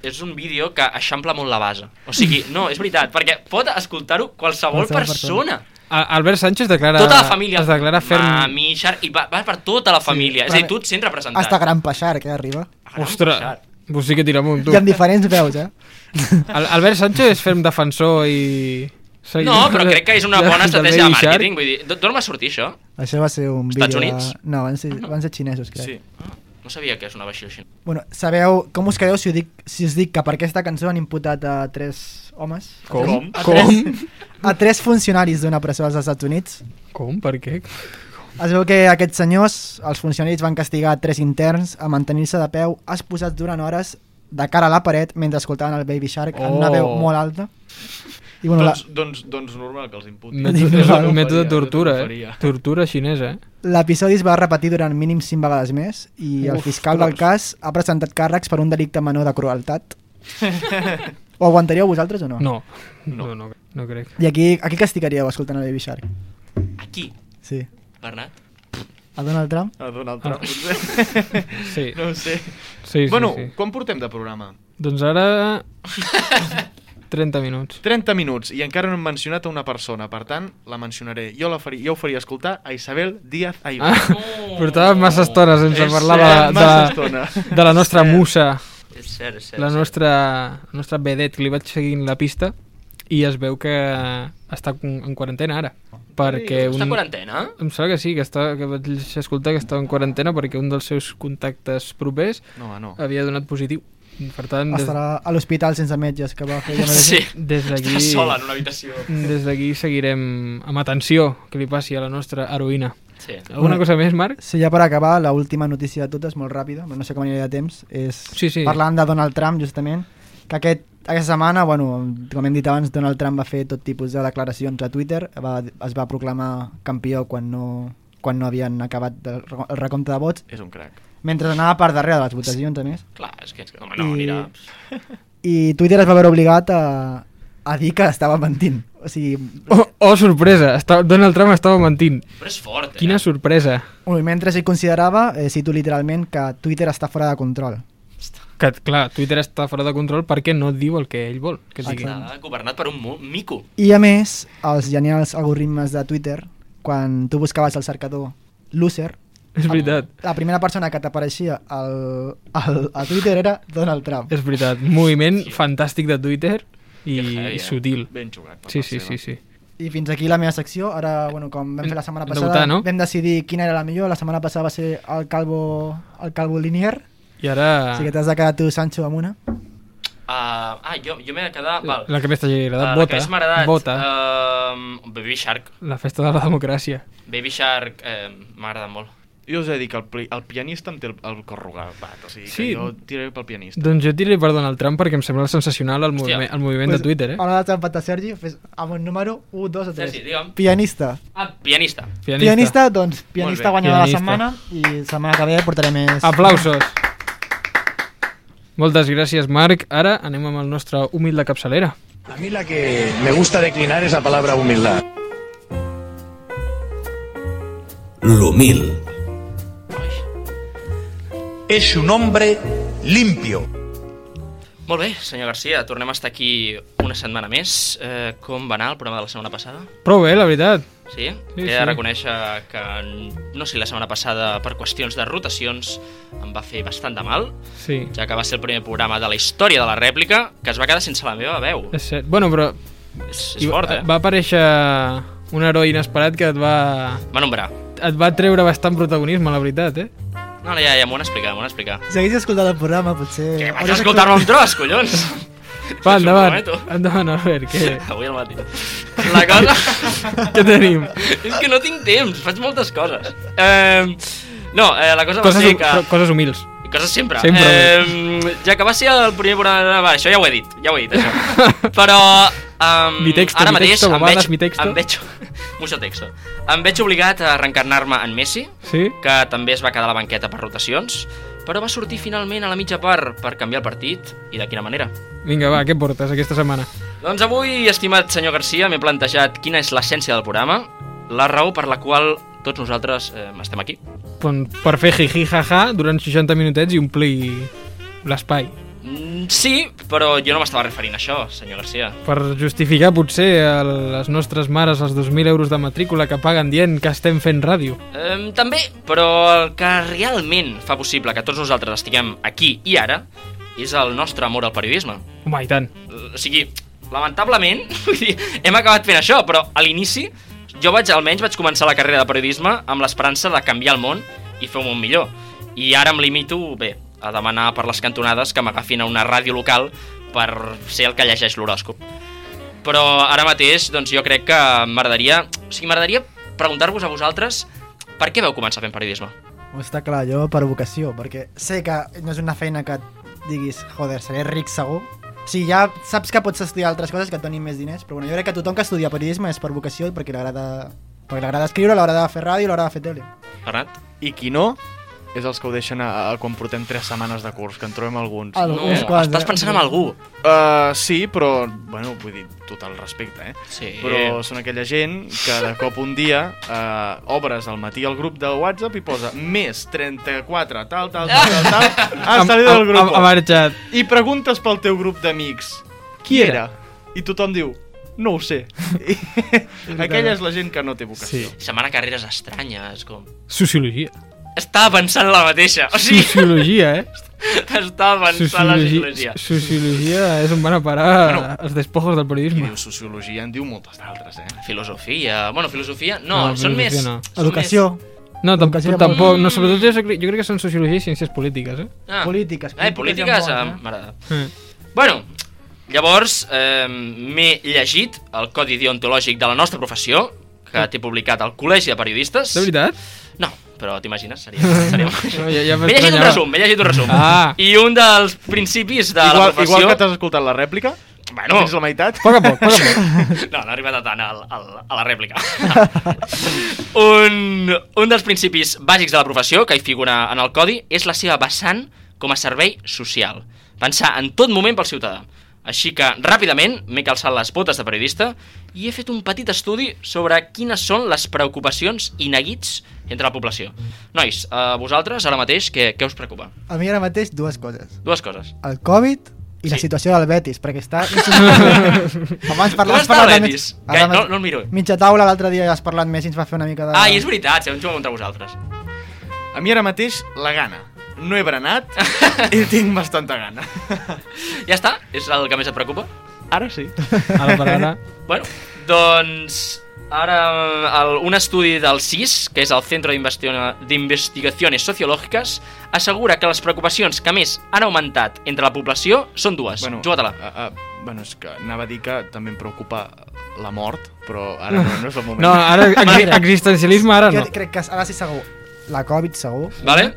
S5: és un vídeo que eixampla molt la base. O sigui, no, és veritat, perquè pot escoltar-ho qualsevol,
S4: Qualsevol
S5: persona.
S4: persona.
S2: A- Albert Sánchez declara...
S5: Tota la família.
S2: Es declara ferm...
S5: Mami, Shark, i va, va per tota la família. Sí, és a dir, tu et sents representat.
S4: Hasta gran peixar, que arriba.
S5: Gran
S2: Ostres,
S5: Shark.
S2: vos sí que tira amunt, tu.
S4: I amb diferents veus, eh?
S2: Al- Albert Sánchez és ferm defensor i...
S5: No, però crec que és una bona
S2: del
S5: estratègia de
S2: Baby Shark.
S5: màrqueting. Vull dir, d'on d'on va sortir això?
S4: Això va ser un
S5: Estats
S4: vídeo... de-
S5: Units? Ah,
S4: No, van ser, van ser xinesos, crec.
S3: Sí.
S5: No sabia que sonava així així.
S4: Bueno, sabeu com us quedeu si us dic, si us dic que per aquesta cançó han imputat a tres homes?
S2: Com?
S3: Com?
S4: A tres,
S2: Com?
S4: a tres funcionaris d'una presó dels Estats Units.
S2: Com? Per què?
S4: Es veu que aquests senyors, els funcionaris, van castigar tres interns a mantenir-se de peu exposats durant hores de cara a la paret mentre escoltaven el Baby Shark en una
S2: Oh.
S4: veu molt alta. I bueno, la,
S3: Doncs, doncs, doncs normal que els imputin.
S2: Mètode, és
S4: no,
S2: un
S4: no
S2: mètode de
S3: faria, jo
S2: tortura,
S3: no ho
S2: eh?
S3: faria.
S2: Tortura xinesa, eh?
S4: L'episodi es va repetir durant mínim 5 vegades més i el
S2: Uf,
S4: fiscal del cas ha presentat càrrecs per un delicte menor de crueltat. Ho aguantaríeu vosaltres o no?
S2: No. No, no, no crec.
S4: I aquí, aquí castigaríeu escoltant el Baby Shark?
S5: Aquí,
S4: Sí.
S5: Bernat.
S4: A Donald Trump?
S3: A Donald Trump,
S2: Ah.
S3: potser.
S2: Sí,
S3: no ho sé.
S2: sí, sí.
S3: bueno,
S2: sí.
S3: quan portem de programa?
S2: Doncs ara... 30 minuts.
S3: 30 minuts i encara no hem mencionat a una persona, per tant, la mencionaré. Jo, la faria, jo ho faria escoltar a Isabel Díaz
S2: Ah,
S3: Aybar.
S2: portàvem massa estona sense
S3: És
S2: parlar
S3: cert,
S2: de,
S3: massa
S2: de,
S3: estona.
S2: de la nostra musa,
S5: És cert, és cert.
S2: la
S5: és
S2: nostra, la nostra vedet, que li vaig seguint la pista i es veu que està en quarantena ara. Perquè
S5: cert. Està en
S2: un,
S5: quarantena?
S2: em sembla que sí, que, està, que vaig escoltar que estava en quarantena perquè un dels seus contactes propers
S3: No, no.
S2: havia donat positiu. Per tant, des,
S4: Estarà a l'hospital sense metges que va fer... jo no sé.
S5: Sí.
S2: des d'aquí...
S5: Està sola en una habitació.
S2: Mm, Des d'aquí seguirem amb atenció que li passi a la nostra heroïna.
S5: Sí.
S2: Alguna cosa més, Marc?
S4: Sí, ja per acabar, la última notícia de totes, molt ràpida, no sé com aniré de temps, és
S2: Sí, sí.
S4: parlant de Donald Trump, justament, que aquest, aquesta setmana, bueno, com hem dit abans, Donald Trump va fer tot tipus de declaracions a Twitter, va, es va proclamar campió quan no, quan no havien acabat el reco- el recompte de vots,
S3: És un crac.
S4: mentre anava per darrere de les votacions, a més.
S5: Clar, és que... Home, no,
S4: I-
S5: mira...
S4: I Twitter es va veure obligat a, a dir que estava mentint. O sigui,
S2: Oh, oh sorpresa! Està, Donald Trump estava mentint.
S5: Però és fort, eh?
S2: Quina sorpresa!
S4: un moviment s'hi considerava, eh, cito literalment, que Twitter està fora de control.
S2: Que, clar, Twitter està fora de control perquè no diu el que ell vol que digui.
S5: Està governat per un mu- mico.
S4: I a més, els genials algoritmes de Twitter, quan tu buscaves al cercador loser,
S2: És veritat,
S4: la primera persona que t'apareixia al, al, a Twitter era Donald Trump.
S2: és veritat. Moviment fantàstic de Twitter i,
S5: Que heavy, eh?
S2: i sutil.
S3: Ben jugat. per
S2: Sí,
S3: part
S2: sí,
S3: seva.
S2: sí, sí.
S4: I fins aquí la meva secció. Ara, bueno, com vam fer la setmana
S2: Hem de
S4: passada,
S2: votar, no?
S4: vam decidir quina era la millor. La setmana passada va ser el Calvo, el calvo Linier.
S2: I ara...
S4: Ah. Així que t'has de quedar tu, Sancho, amb una.
S5: Uh, ah, jo, jo m'he de quedar... Val.
S2: La que més t'hagi agradat,
S5: Ah, la que
S2: vota.
S5: més m'ha agradat. eh,
S2: Vota.
S5: Uh, Baby Shark.
S2: La festa de la democràcia.
S5: Baby Shark eh, m'agrada molt.
S3: Jo us he de dir que el, pli, el pianista em té el, el cor rugat, o sigui que
S2: Sí.
S3: jo tiraré pel pianista.
S2: Doncs jo tiraré per Donald Trump perquè em sembla sensacional el, moviment, el moviment de Twitter, eh?
S4: Ara l'has empat a Sergi, fes amb el número 1, 2 o 3.
S5: Sergi, digue'm.
S4: Pianista.
S5: Ah, pianista.
S4: Pianista, doncs, pianista guanyador de la setmana
S2: Pianista.
S4: i setmana que ve portaré més...
S2: Aplausos. Moltes gràcies, Marc. Ara anem amb el nostre humil de capçalera.
S7: A mí la que Eh, me gusta declinar es la palabra humildad.
S1: l'humil,
S7: Es un hombre limpio.
S5: Molt bé, senyor Garcia, tornem a estar aquí una setmana més. Eh, com va anar el programa de la setmana passada?
S2: Prou bé, la veritat. Sí,
S5: Sí? sí He de
S2: sí.
S5: reconèixer que, no sé, la setmana passada, per qüestions de rotacions, em va fer bastant de mal,
S2: Sí,
S5: ja que va ser el primer programa de la història de la rèplica que es va quedar sense la meva veu.
S2: és cert. Bueno, però...
S5: És, és fort, eh?
S2: Va aparèixer un heroi inesperat que et va...
S5: Va nombrar.
S2: Et va treure bastant protagonisme, la veritat, eh?
S5: No, no, ja, ja, m'ho han explicat, m'ho han explicat.
S4: Si hagués escoltat el programa, potser...
S5: Que vaig
S4: hauries
S5: escoltar-me un tros, collons!
S2: Va,
S5: Us ho
S2: endavant.
S5: prometo.
S2: Endavant, Albert, què,
S5: Avui al matí. La cosa...
S2: què tenim?
S5: és que no tinc temps, faig moltes coses. Eh, no, eh, la cosa va
S2: Coses,
S5: ser
S2: hum-
S5: que...
S2: però coses humils.
S5: Coses sempre.
S2: Sempre.
S5: Eh, ja que va ser el primer programa... Va, això ja ho he dit, ja ho he dit, això. Però... Um,
S2: Mi texto,
S5: ara
S2: mi
S5: mateix
S2: texto,
S5: em
S2: babades,
S5: veig,
S2: mi texto.
S5: Em veig, mucho texto. Em veig obligat a reencarnar-me en Messi,
S2: Sí?
S5: que també es va quedar a la banqueta per rotacions, però va sortir finalment a la mitja part per canviar el partit, i de quina manera.
S2: Vinga, va, què portes aquesta setmana?
S5: Doncs avui, estimat senyor Garcia, m'he plantejat quina és l'essència del programa, la raó per la qual tots nosaltres eh, estem aquí.
S2: Doncs Pon- Per fer jiji jaja durant 60 minutets i omplir l'espai.
S5: Mm, Sí, però jo no m'estava referint a això, senyor Garcia.
S2: Per justificar potser a les nostres mares els 2.000 euros de matrícula que paguen dient que estem fent ràdio.
S5: Um, també, però el que realment fa possible que tots nosaltres estiguem aquí i ara és el nostre amor al periodisme.
S2: Home, i tant.
S5: Eh, O sigui, lamentablement, vull dir, hem acabat fent això, però a l'inici jo vaig, almenys vaig començar la carrera de periodisme amb l'esperança de canviar el món i fer un món millor. I ara em limito, bé, a demanar per les cantonades que m'agafin a una ràdio local per ser el que llegeix l'horòscop. Però ara mateix, doncs jo crec que m'agradaria... O sigui, m'agradaria preguntar-vos a vosaltres per què vau començar fent periodisme?
S4: Ho està clar, jo per vocació, perquè sé que no és una feina que et diguis, joder, seré ric segur. Sí, ja saps que pots estudiar altres coses que et donin més diners, però bueno, jo crec que tothom que estudia periodisme és per vocació i perquè li agrada, perquè li agrada escriure, a l'hora de fer ràdio, a l'hora de fer tele.
S5: Bernat?
S3: I qui no, és els que ho deixen a, a quan portem 3 setmanes de curs, que en trobem alguns.
S2: Ah,
S4: Al-
S5: No,
S4: Uns quants,
S5: estàs
S4: eh?
S5: pensant en algú.
S3: Uh, sí, però, bueno, vull dir, tot el respecte, eh?
S5: Sí.
S3: Però són aquella gent que de cop un dia uh, obres al matí al grup de WhatsApp i posa més 34, tal, tal, tal, tal, tal,
S2: Ha-
S3: has salido del
S2: ha,
S3: grup.
S2: ha marxat.
S3: I preguntes pel teu grup d'amics.
S2: Qui era?
S3: I tothom diu, no ho sé. I aquella és la gent que no té vocació.
S2: Sí.
S5: Setmana carreres estranyes, com...
S2: Sociologia.
S5: Estava pensant la mateixa. O sigui,
S2: Sociologia, eh?
S5: estava pensant la
S2: Sociologia,
S5: psicologia.
S2: sociologia és on van a parar
S3: Bueno.
S2: els despojos del
S3: I
S2: periodisme.
S3: diu sociologia, en diu moltes d'altres, eh?
S5: Filosofia... Bueno, filosofia... No,
S2: No,
S5: són
S2: filosofia
S5: més...
S2: no.
S5: són
S4: Educació,
S2: No, tampoc,
S4: Educació
S2: tampoc. No, sobretot jo, crec- jo crec que són sociologia i ciències polítiques, eh?
S5: Més... Ah.
S4: polítiques.
S5: Eh, polítiques...
S4: hi ha
S5: eh,
S4: molt,
S5: M'agrada.
S2: eh.
S5: Bueno, llavors eh, m'he llegit el codi deontològic de la nostra professió, que t'he publicat al Col·legi de Periodistes.
S2: De veritat?
S5: No, però t'imagines? Seria... seria...
S2: No, ja- ja
S5: m'he llegit un
S2: m'estranyava.
S5: resum, m'he llegit un resum.
S2: Ah.
S5: I un dels principis de la
S3: Igual,
S5: professió...
S3: igual que t'has escoltat la rèplica,
S5: Bueno,
S3: fins la meitat.
S2: Poc a poc, poc a poc.
S5: No, no ha arribat a tant al, al, a la rèplica. un, un dels principis bàsics de la professió, que hi figura en el codi, és la seva vessant com a servei social. Pensar en tot moment pel ciutadà. Així que, ràpidament, m'he calçat les botes de periodista i he fet un petit estudi sobre quines són les preocupacions i neguits entre la població. Nois, a vosaltres, ara mateix, què, què us preocupa?
S4: eh? A mi ara mateix dues coses.
S5: Dues coses.
S4: El Covid i la
S5: Sí.
S4: situació del Betis, perquè està... Abans
S5: Com
S4: parlar,
S5: està el Betis? Gai- no- no el miro.
S4: Mitja taula, l'altre dia ja has parlat més i ens va fer una mica de...
S5: Ah, i és veritat, si hem jugat contra vosaltres.
S3: A mi ara mateix, la gana. No he berenat i tinc bastanta gana.
S5: Ja està? És el que més et preocupa?
S3: Ara sí.
S2: Ara per ara.
S5: Bueno, doncs ara el, un estudi del CIS, que és el Centro d'Investiga- d'Investigaciones Sociològiques, assegura que les preocupacions que més han augmentat entre la població són dues. Bueno, Juga-te-la.
S3: Uh, uh, bueno, és que anava a dir que també em preocupa la mort, però ara no, no és el moment.
S2: No, ara exi
S4: Mira.
S2: existencialisme ara
S4: Jo
S2: no.
S4: crec que ara sí segur. La Covid segur.
S5: Vale?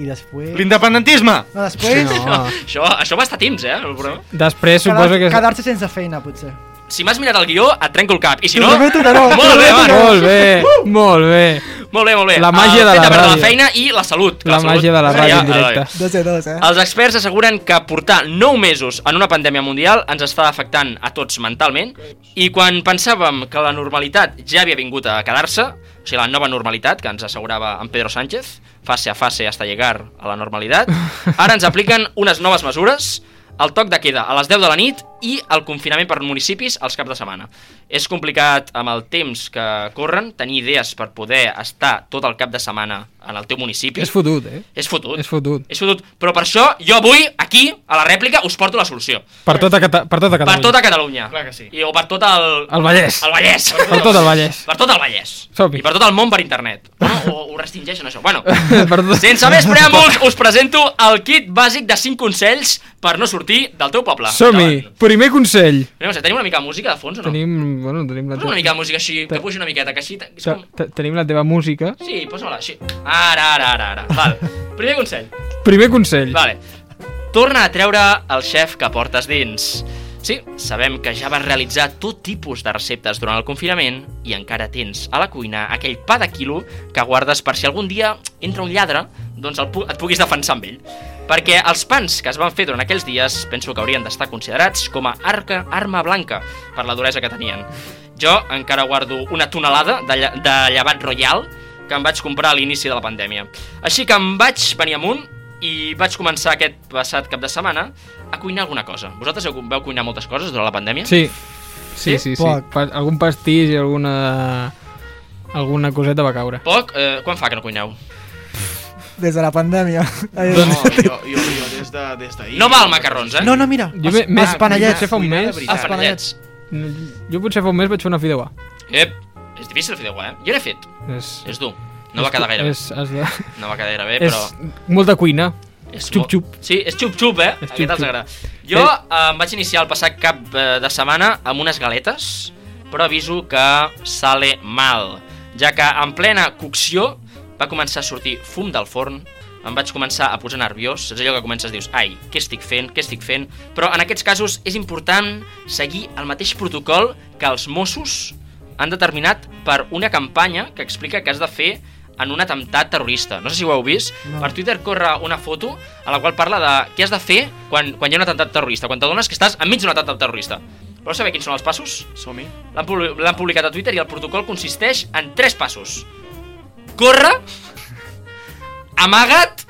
S4: I després...
S3: L'independentisme!
S4: No, després...
S2: No.
S5: Això, això va estar temps, eh? El programa.
S2: Després
S4: Quedar,
S2: suposo que... és-
S4: Quedar-se sense feina, potser.
S5: Si m'has mirat el guió, et trenco el cap. I si
S4: T'ho
S5: no...
S4: prometo que no, t'ho
S5: Molt bé,
S4: prometo
S2: Ah,
S5: va.
S4: que
S2: Molt bé, molt bé.
S5: Molt bé, molt bé.
S2: La màgia
S5: el
S2: de
S5: fet
S2: la
S5: perdre
S2: ràdio.
S5: la feina i la salut. que
S2: La
S5: salut
S2: màgia de la
S5: seria-
S2: ràdio en directe.
S4: Dos de dos, eh?
S2: Ah.
S5: Els experts asseguren que portar 9 mesos en una pandèmia mundial ens està afectant a tots mentalment i quan pensàvem que la normalitat ja havia vingut a quedar-se, o sigui, la nova normalitat que ens assegurava en Pedro Sánchez, fase a fase hasta llegar a la normalitat, ara ens apliquen unes noves mesures, el toc de queda a les 10 de la nit i el confinament per municipis als caps de setmana. És complicat amb el temps que corren tenir idees per poder estar tot el cap de setmana en el teu municipi.
S2: És fotut, eh?
S5: és fotut.
S2: És fotut.
S5: És fotut. Però per això, jo avui, aquí, a la rèplica, us porto la solució.
S2: Per tota, Cata per tota Catalunya.
S5: Per tota Catalunya.
S3: Clar que sí.
S5: I, o per tot el...
S2: El Vallès.
S5: El Vallès.
S2: Per tot el Vallès.
S5: Per tot el Vallès.
S2: Som-hi.
S5: I per tot el món per internet. Bueno, o, ho restringeixen, això. Bueno,
S2: Per tot-
S5: sense més preàmbuls, us presento el kit bàsic de 5 consells per no sortir del teu poble.
S2: Som-hi.
S5: Endavant.
S2: Primer consell.
S5: Anem a veure, Tenim una mica de música de fons o no?
S2: Tenim, bueno, tenim la
S5: Posa una
S2: teva...
S5: mica de música així, que pugi una miqueta, que així... És
S2: te-
S5: com...
S2: te- Tenim la teva música.
S5: Sí, posa-la així. Ara, ara, ara, ara. Val. Primer consell.
S2: Primer consell.
S5: Vale. Torna a treure el xef que portes dins. Sí, sabem que ja vas realitzar tot tipus de receptes durant el confinament i encara tens a la cuina aquell pa de quilo que guardes per si algun dia entra un lladre, doncs el pu et puguis defensar amb ell. Perquè els pans que es van fer durant aquells dies penso que haurien d'estar considerats com a arca, arma blanca per la duresa que tenien. Jo encara guardo una tonelada de, lla de llevat royal que em vaig comprar a l'inici de la pandèmia. Així que em vaig venir amunt i vaig començar aquest passat cap de setmana a cuinar alguna cosa. Vosaltres heu- vau cuinar moltes coses durant la pandèmia?
S2: Sí.
S5: Eh?
S2: Sí, sí, sí.
S4: Poc.
S2: Pa algun pastís i alguna... alguna coseta va caure.
S5: Poc? Eh, quan fa que no cuineu?
S4: Des de la pandèmia.
S3: No,
S2: Doncs-
S3: jo, jo, jo des de- des d'ahir...
S5: No val macarrons, eh?
S4: No, no, mira.
S2: Jo me- més-
S4: panellets.
S2: potser fa un
S3: cuinar de
S2: mes.
S3: veritat.
S5: Ah, panellets.
S2: Jo potser fa un mes vaig fer una fideuà.
S5: Ep, és difícil fer d'aigua, eh? Jo l'he fet,
S2: És,
S5: és dur. No va quedar gaire bé,
S2: És, és, de...
S5: no va quedar gaire bé,
S2: és
S5: però...
S2: molta cuina.
S5: És
S2: xup,
S5: bo-
S2: xup.
S5: Sí, és xup-xup, eh?
S2: És
S5: Aquest xup, els
S2: xup-xup.
S5: agrada. Jo eh, em vaig iniciar el passat cap eh, de setmana amb unes galetes, però aviso que sale mal, ja que en plena cocció va començar a sortir fum del forn, em vaig començar a posar nerviós, és allò que comences, dius, ai, què estic fent, què estic fent... Però en aquests casos és important seguir el mateix protocol que els Mossos han determinat per una campanya que explica que has de fer en un atemptat terrorista. No sé si ho heu vist,
S4: No.
S5: no. per Twitter corre una foto a la qual parla de què has de fer quan, quan hi ha un atemptat terrorista, quan t'adones que estàs enmig d'un atemptat terrorista. Vols saber quins són els passos?
S3: Som-hi.
S5: L'han publi- l'han publicat a Twitter i el protocol consisteix en tres passos. Corre, amaga't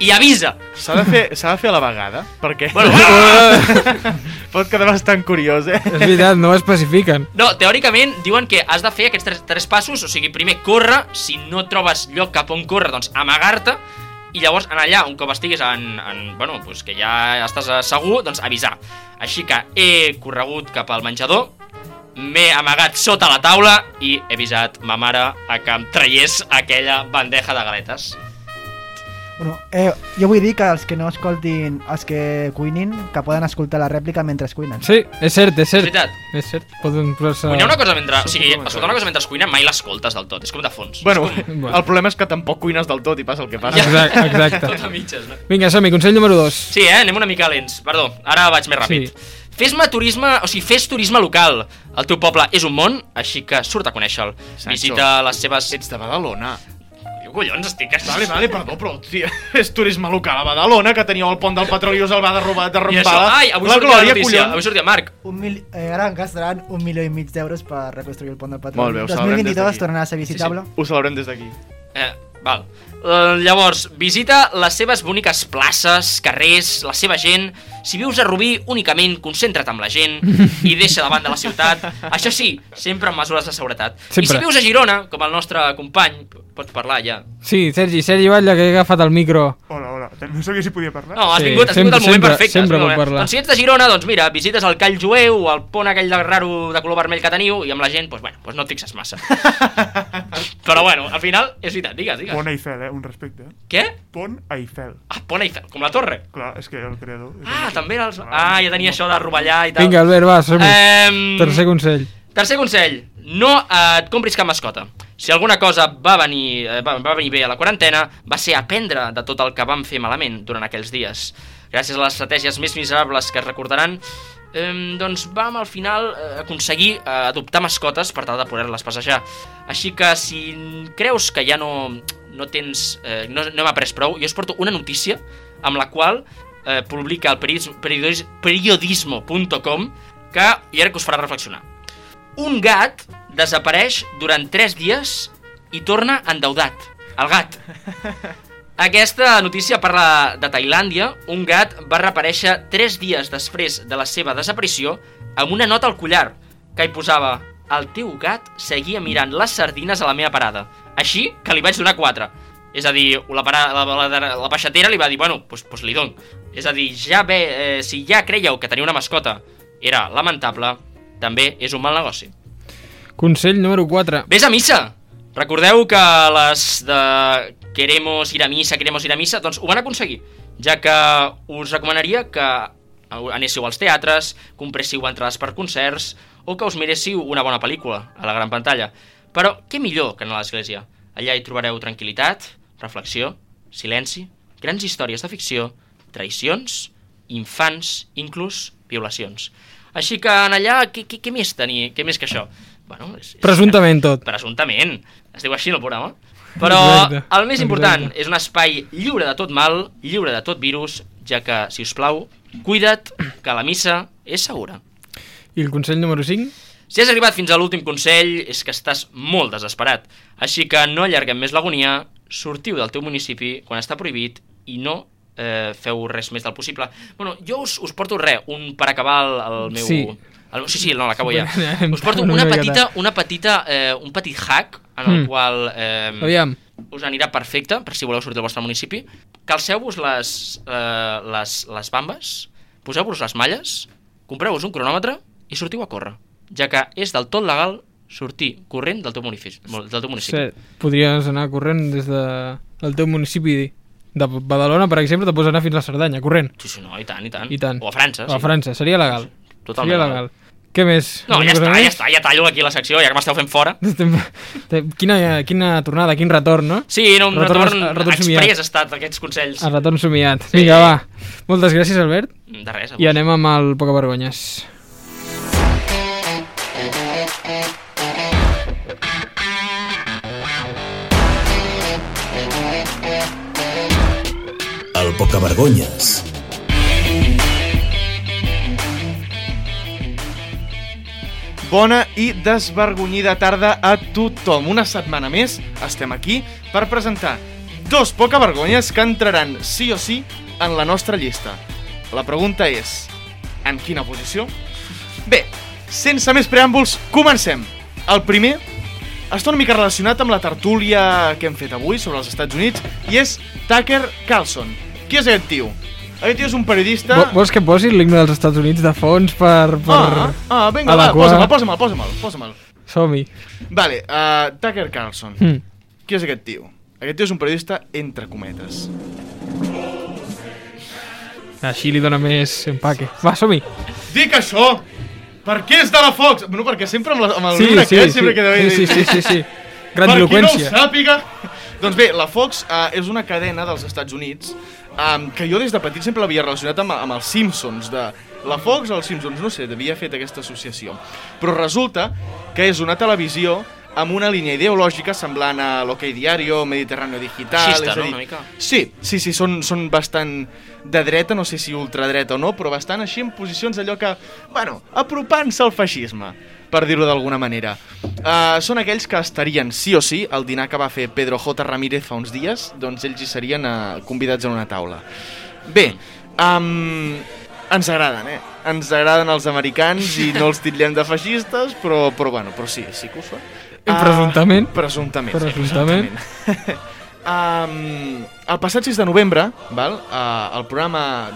S5: i avisa.
S3: S'ha de, fer, s'ha de fer a la vegada, perquè
S5: Bueno, ah!
S3: pot quedar bastant curiós, eh?
S2: És veritat, no ho especifiquen.
S5: No, teòricament diuen que has de fer aquests tres, tres passos, o sigui, primer córrer, si no trobes lloc cap on córrer, doncs amagar-te, i llavors anar allà, un cop estiguis en, en bueno, doncs que ja estàs eh, segur, doncs avisar. Així que he corregut cap al menjador, m'he amagat sota la taula i he avisat ma mare a que em traiés aquella bandeja de galetes.
S4: Bueno, eh, jo vull dir que els que no escoltin, els que cuinin, que poden escoltar la rèplica mentre es cuinen.
S2: Sí, és cert, és
S5: És
S2: cert.
S5: veritat,
S2: És cert. Poden posar-se...
S5: cuinar una cosa mentre... O sigui,
S3: complementaris.
S5: escoltar una cosa mentre es cuina mai l'escoltes del tot, és com de fons.
S3: Bueno,
S2: Bueno.
S3: el problema és que tampoc cuines del tot i passa el que passa.
S2: Exacte,
S5: Tot
S2: exacte.
S5: a mitges, no?
S2: Vinga, som-hi, consell número 2.
S5: Sí, eh? Anem una mica lents. Perdó, ara vaig més ràpid. Sí. Fes-me turisme, o sigui, fes turisme local. El teu poble és un món, així que surt a conèixer-lo.
S3: Sancho,
S5: Visita les seves...
S3: Ets de Badalona.
S5: Jo, collons, estic...
S3: Vale, vale, perdó, però hòstia, és turisme local a Badalona, que teníeu el pont del petroli i us el va derrubar,
S5: I
S3: derrumbar
S5: això,
S3: la,
S5: ai, avui
S3: la
S5: sortia la
S3: glòria,
S5: notícia, avui
S3: collons.
S5: sortia Marc.
S4: Un mil... eh, ara en gastaran un milió i mig d'euros per reconstruir el pont del patró.
S3: Molt bé, ho celebrem des
S4: 2022
S3: d'aquí.
S4: tornarà a ser visitable.
S3: Ho celebrem des d'aquí.
S5: Eh, val. Eh, llavors, visita les seves boniques places, carrers, la seva gent. Si vius a Rubí, únicament concentra't amb la gent i deixa davant de la ciutat. Això sí, sempre amb mesures de seguretat. I
S2: Sempre.
S5: si vius a Girona, com el nostre company, pots parlar ja
S2: Sí, Sergi, Sergi Batlle, que he agafat el micro.
S8: Hola, hola. No sabia si podia parlar.
S5: No, has
S2: Sí,
S5: vingut, has
S2: sempre-
S5: vingut al moment
S2: sempre-
S5: perfecte.
S2: sempre
S5: has vingut al
S2: puc
S5: moment.
S2: parlar.
S5: Doncs si ets de Girona, doncs mira, visites el Call Jueu o el pont aquell de raro de color vermell que teniu i amb la gent, doncs bueno, doncs no et fixes massa. Però bueno, al final, és veritat, digues, digues.
S8: Pont Eiffel, eh? Un respecte. eh?
S5: Què?
S8: Pont Eiffel.
S5: Ah, pont Eiffel, com la torre.
S8: Clar, és que el creador... és
S5: Ah,
S8: homes.
S5: també era els... Ah, ja tenia això de rovellar i tal.
S2: Vinga, Albert, va, som -hi.
S5: Ehm,
S2: Tercer consell.
S5: Tercer consell, no eh, et compris cap mascota. Si alguna cosa va venir, eh, va, va venir bé a la quarantena, va ser aprendre de tot el que vam fer malament durant aquells dies. Gràcies a les estratègies més miserables que es recordaran, eh, doncs vam al final eh, aconseguir eh, adoptar mascotes per tal de poder-les passejar. Així que si creus que ja no, no tens... Eh, no, no hem après prou, jo us porto una notícia amb la qual eh, publica el periodis- periodis- periodismo.com que i ara que us farà reflexionar. Un gat desapareix durant 3 dies i torna endeudat. El gat. Aquesta notícia parla de Tailàndia. Un gat va reaparèixer 3 dies després de la seva desaparició amb una nota al collar que hi posava «El teu gat seguia mirant les sardines a la meva parada, així que li vaig donar 4». És a dir, la, para, la, la, la, la peixatera li va dir «Bueno, doncs, doncs li dono». És a dir, ja ve, eh, si ja creieu que tenir una mascota era lamentable, també és un mal negoci.
S2: Consell número 4.
S5: Vés a missa! Recordeu que les de queremos ir a missa, queremos ir a missa, doncs ho van aconseguir, ja que us recomanaria que anéssiu als teatres, compréssiu entrades per concerts o que us miréssiu una bona pel·lícula a la gran pantalla. Però què millor que anar a l'església? Allà hi trobareu tranquil·litat, reflexió, silenci, grans històries de ficció, traïcions, infants, inclús violacions. Així que en allà, què, què, què més tenir? Què més que això? Bueno, és, és-
S2: Presumptament tot.
S5: Presumptament. Es diu així en el programa. Però
S2: Exacte,
S5: el més important
S2: exacte.
S5: és un espai lliure de tot mal, lliure de tot virus, ja que, si us plau, cuida't que la missa és segura.
S2: I el consell número 5?
S5: Si has arribat fins a l'últim consell, és que estàs molt desesperat. Així que no allarguem més l'agonia, sortiu del teu municipi quan està prohibit i no eh, eh, feu res més del possible. Bueno, jo us, us porto res, un per acabar el, el meu...
S2: Sí.
S5: El, sí, sí, no, l'acabo ja.
S2: Anem
S5: Us porto
S2: una
S5: una
S2: miqueta.
S5: petita, una petita, eh, un petit hack en el
S2: Mm.
S5: qual eh,
S2: Aviam,
S5: us anirà perfecte per si voleu sortir del vostre municipi. Calceu-vos les, eh, les, les bambes, poseu-vos les malles, compreu-vos un cronòmetre i sortiu a córrer, ja que és del tot legal sortir corrent del teu municipi. Del teu municipi.
S2: sí. podries anar corrent des de el teu municipi de Badalona, per exemple, te pots anar fins a Cerdanya, corrent.
S5: Sí, sí, no, i tant, i tant.
S2: I tant.
S5: Mm. O a França,
S2: O a França, seria legal.
S5: Totalment
S2: seria legal.
S5: legal.
S2: Què més?
S5: No,
S2: Alguna
S5: ja està,
S2: cosa
S5: ja
S2: més?
S5: està, ja tallo aquí la secció, ja que m'esteu fent fora.
S2: Quina, quina tornada, quin retorn, no?
S5: Sí, no, un
S2: Retorn-
S5: retorn,
S2: retorn somiat.
S5: express ha estat aquests consells. Mm,
S2: El retorn somiat. Vinga, va. Moltes gràcies, Albert.
S5: De res, a
S2: I
S5: vos.
S2: anem amb el Poca Vergonyes.
S1: El Pocavergonyes.
S3: Bona i desvergonyida tarda a tothom. Una setmana més estem aquí per presentar dos poca vergonyes que entraran sí o sí en la nostra llista. La pregunta és, en quina posició? Bé, sense més preàmbuls, comencem. El primer està una mica relacionat amb la tertúlia que hem fet avui sobre els Estats Units i és Tucker Carlson. Qui és aquest tio? Aquest tio és un periodista...
S2: Vo- Vols que posi l'himne dels Estats Units de fons per... per...
S3: Ah, ah, vinga, va,
S2: adequar?
S3: posa-me'l, posa-me'l, posa-me'l, posa-me'l.
S2: Som-hi.
S3: Vale, uh, Tucker Carlson.
S2: Mm.
S3: Qui és aquest tio? Aquest tio és un periodista entre cometes.
S2: Així li dóna més empaque. Va, som-hi.
S3: Dic això! Per què és de la Fox? No, perquè sempre amb, la, amb el
S2: Sí,
S3: llibre
S2: sí,
S3: aquest
S2: sí,
S3: sempre queda bé.
S2: sí, sí, sí, sí, sí. Gran
S3: per qui no ho
S2: eloqüència.
S3: sàpiga... Doncs bé, la Fox uh, és una cadena dels Estats Units um, que jo des de petit sempre l'havia relacionat amb, amb els Simpsons, de la Fox o els Simpsons, no sé, devia fet aquesta associació. Però resulta que és una televisió amb una línia ideològica semblant a l'Hockey Diario, Mediterráneo Digital...
S5: Feixista,
S3: és a
S5: no,
S3: dir,
S5: una mica?
S3: Sí, sí, sí, són, són bastant de dreta, no sé si ultradreta o no, però bastant així en posicions allò que, bueno, apropant-se al feixisme, per dir-ho d'alguna manera. Uh, són aquells que estarien sí o sí al dinar que va fer Pedro J. Ramírez fa uns dies, doncs ells hi serien uh, convidats a una taula. Bé, um, ens agraden, eh? Ens agraden els americans i no els titllem de feixistes, però, però bueno, però sí, sí que ho són.
S2: I presumptament.
S3: Presumptament.
S2: Presumptament.
S3: um, el passat 6 de novembre, val, uh, el programa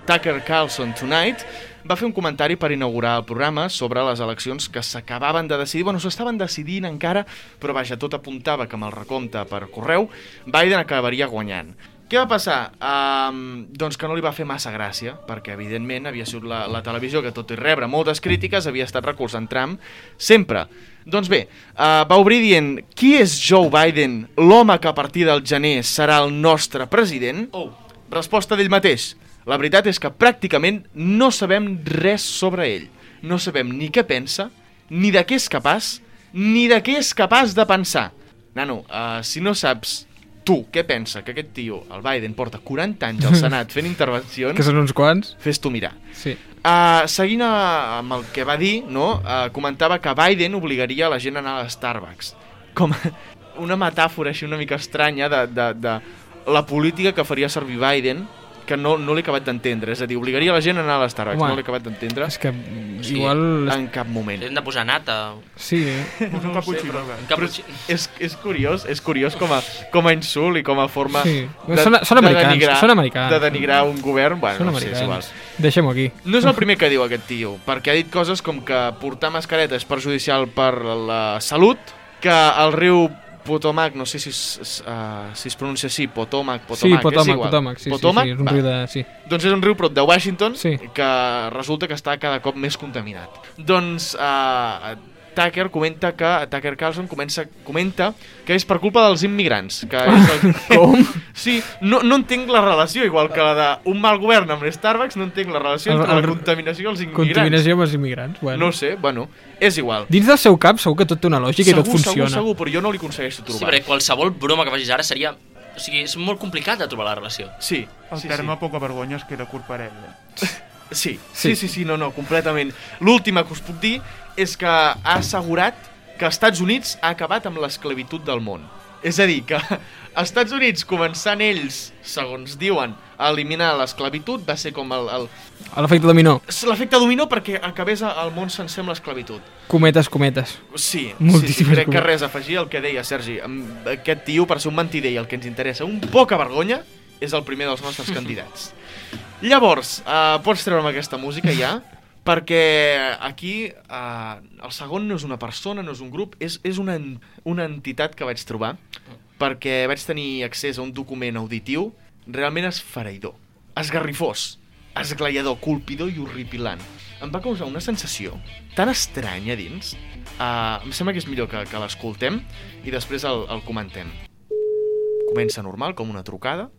S3: uh, Tucker Carlson Tonight va fer un comentari per inaugurar el programa sobre les eleccions que s'acabaven de decidir. Bueno, s'estaven decidint encara, però vaja, tot apuntava que amb el recompte per correu Biden acabaria guanyant. Què va passar? Um, doncs que no li va fer massa gràcia, perquè evidentment havia sigut la, la televisió que, tot i rebre moltes crítiques, havia estat recolzant Trump sempre. Doncs bé, uh, va obrir dient qui és Joe Biden, l'home que a partir del gener serà el nostre president?
S5: Oh.
S3: Resposta d'ell mateix. La veritat és que pràcticament no sabem res sobre ell. No sabem ni què pensa, ni de què és capaç, ni de què és capaç de pensar. Nano, uh, si no saps tu què pensa que aquest tio, el Biden, porta 40 anys al Senat fent intervencions,
S2: Que són uns quants.
S3: fes-t'ho mirar.
S2: Sí.
S3: Uh, seguint uh, amb el que va dir, no? Uh, comentava que Biden obligaria a la gent a anar a Starbucks. Com una metàfora així una mica estranya de, de, de la política que faria servir Biden, que no, no l'he acabat d'entendre. És a dir, obligaria la gent a anar a Starbucks.
S2: Home.
S3: No l'he acabat d'entendre
S2: És que
S5: Sí.
S2: igual...
S3: en cap moment.
S5: Hem de posar nata,
S2: Sí, eh.
S8: Posa un caputxino, va.
S5: un
S3: Però
S5: caputxí...
S3: és, és curiós, és curiós com a, com a insult i com a forma
S2: Sí. Són- són americans, són americans.
S3: de denigrar un govern. Bueno,
S2: són
S3: no sé, és igual.
S2: americans. Deixem-ho aquí.
S3: No és el primer que diu aquest tio, perquè ha dit coses com que portar mascareta és perjudicial per la salut, que el riu Potomac, no sé si es, es, uh, si es pronuncia així, Potomac, Potomac,
S2: sí,
S3: és
S2: Potomac,
S3: igual.
S2: Potomac, sí,
S3: Potomac,
S2: sí, sí, és un
S3: va.
S2: riu de... Sí.
S3: Doncs és un riu prop de Washington
S2: Sí.
S3: que resulta que està cada cop més contaminat. Doncs uh, Tucker comenta que Tucker Carlson comença, comenta que és per culpa dels immigrants. Que és el... Com? Sí, no, no entenc la relació, igual que la d'un mal govern amb Starbucks, no entenc la relació
S2: El-
S3: entre
S2: el-
S3: la contaminació i els immigrants.
S2: Contaminació amb els immigrants. Bueno.
S3: No ho sé, bueno, és igual.
S2: Dins del seu cap segur que tot té una lògica i tot funciona.
S3: Segur, segur, però jo no li aconsegueixo
S5: Sí,
S3: trobar.
S5: perquè qualsevol broma que facis ara seria... O sigui, és molt complicat de trobar la relació.
S3: Sí,
S8: El
S3: sí,
S8: terme poca vergonya es queda curt per ell. eh?
S3: sí.
S2: Sí.
S3: Sí. sí, sí, sí, no, no, completament. L'última que us puc dir és que ha assegurat que els Estats Units ha acabat amb l'esclavitud del món. És a dir, que Estats Units, començant ells, segons diuen, a eliminar l'esclavitud, va ser com el... el...
S2: A l'efecte dominó.
S3: L'efecte dominó perquè acabés al món sencer amb l'esclavitud.
S2: Cometes, cometes.
S3: Sí, sí, sí,
S2: Moltíssimes
S3: crec que
S2: coses.
S3: res a afegir el que deia Sergi. Amb Aquest tio, per ser un mentider i el que ens interessa un poca vergonya, és el primer dels nostres candidats. Llavors, uh, pots treure'm aquesta música ja? Perquè aquí uh, el segon no és una persona, no és un grup, és, és una, en- una entitat que vaig trobar perquè vaig tenir accés a un document auditiu realment esfereïdor, esgarrifós, esglaiador, colpidor i horripilant. Em va causar una sensació tan estranya a dins. Uh, em sembla que és millor que, que l'escoltem i després el, el comentem. Comença normal, com una trucada.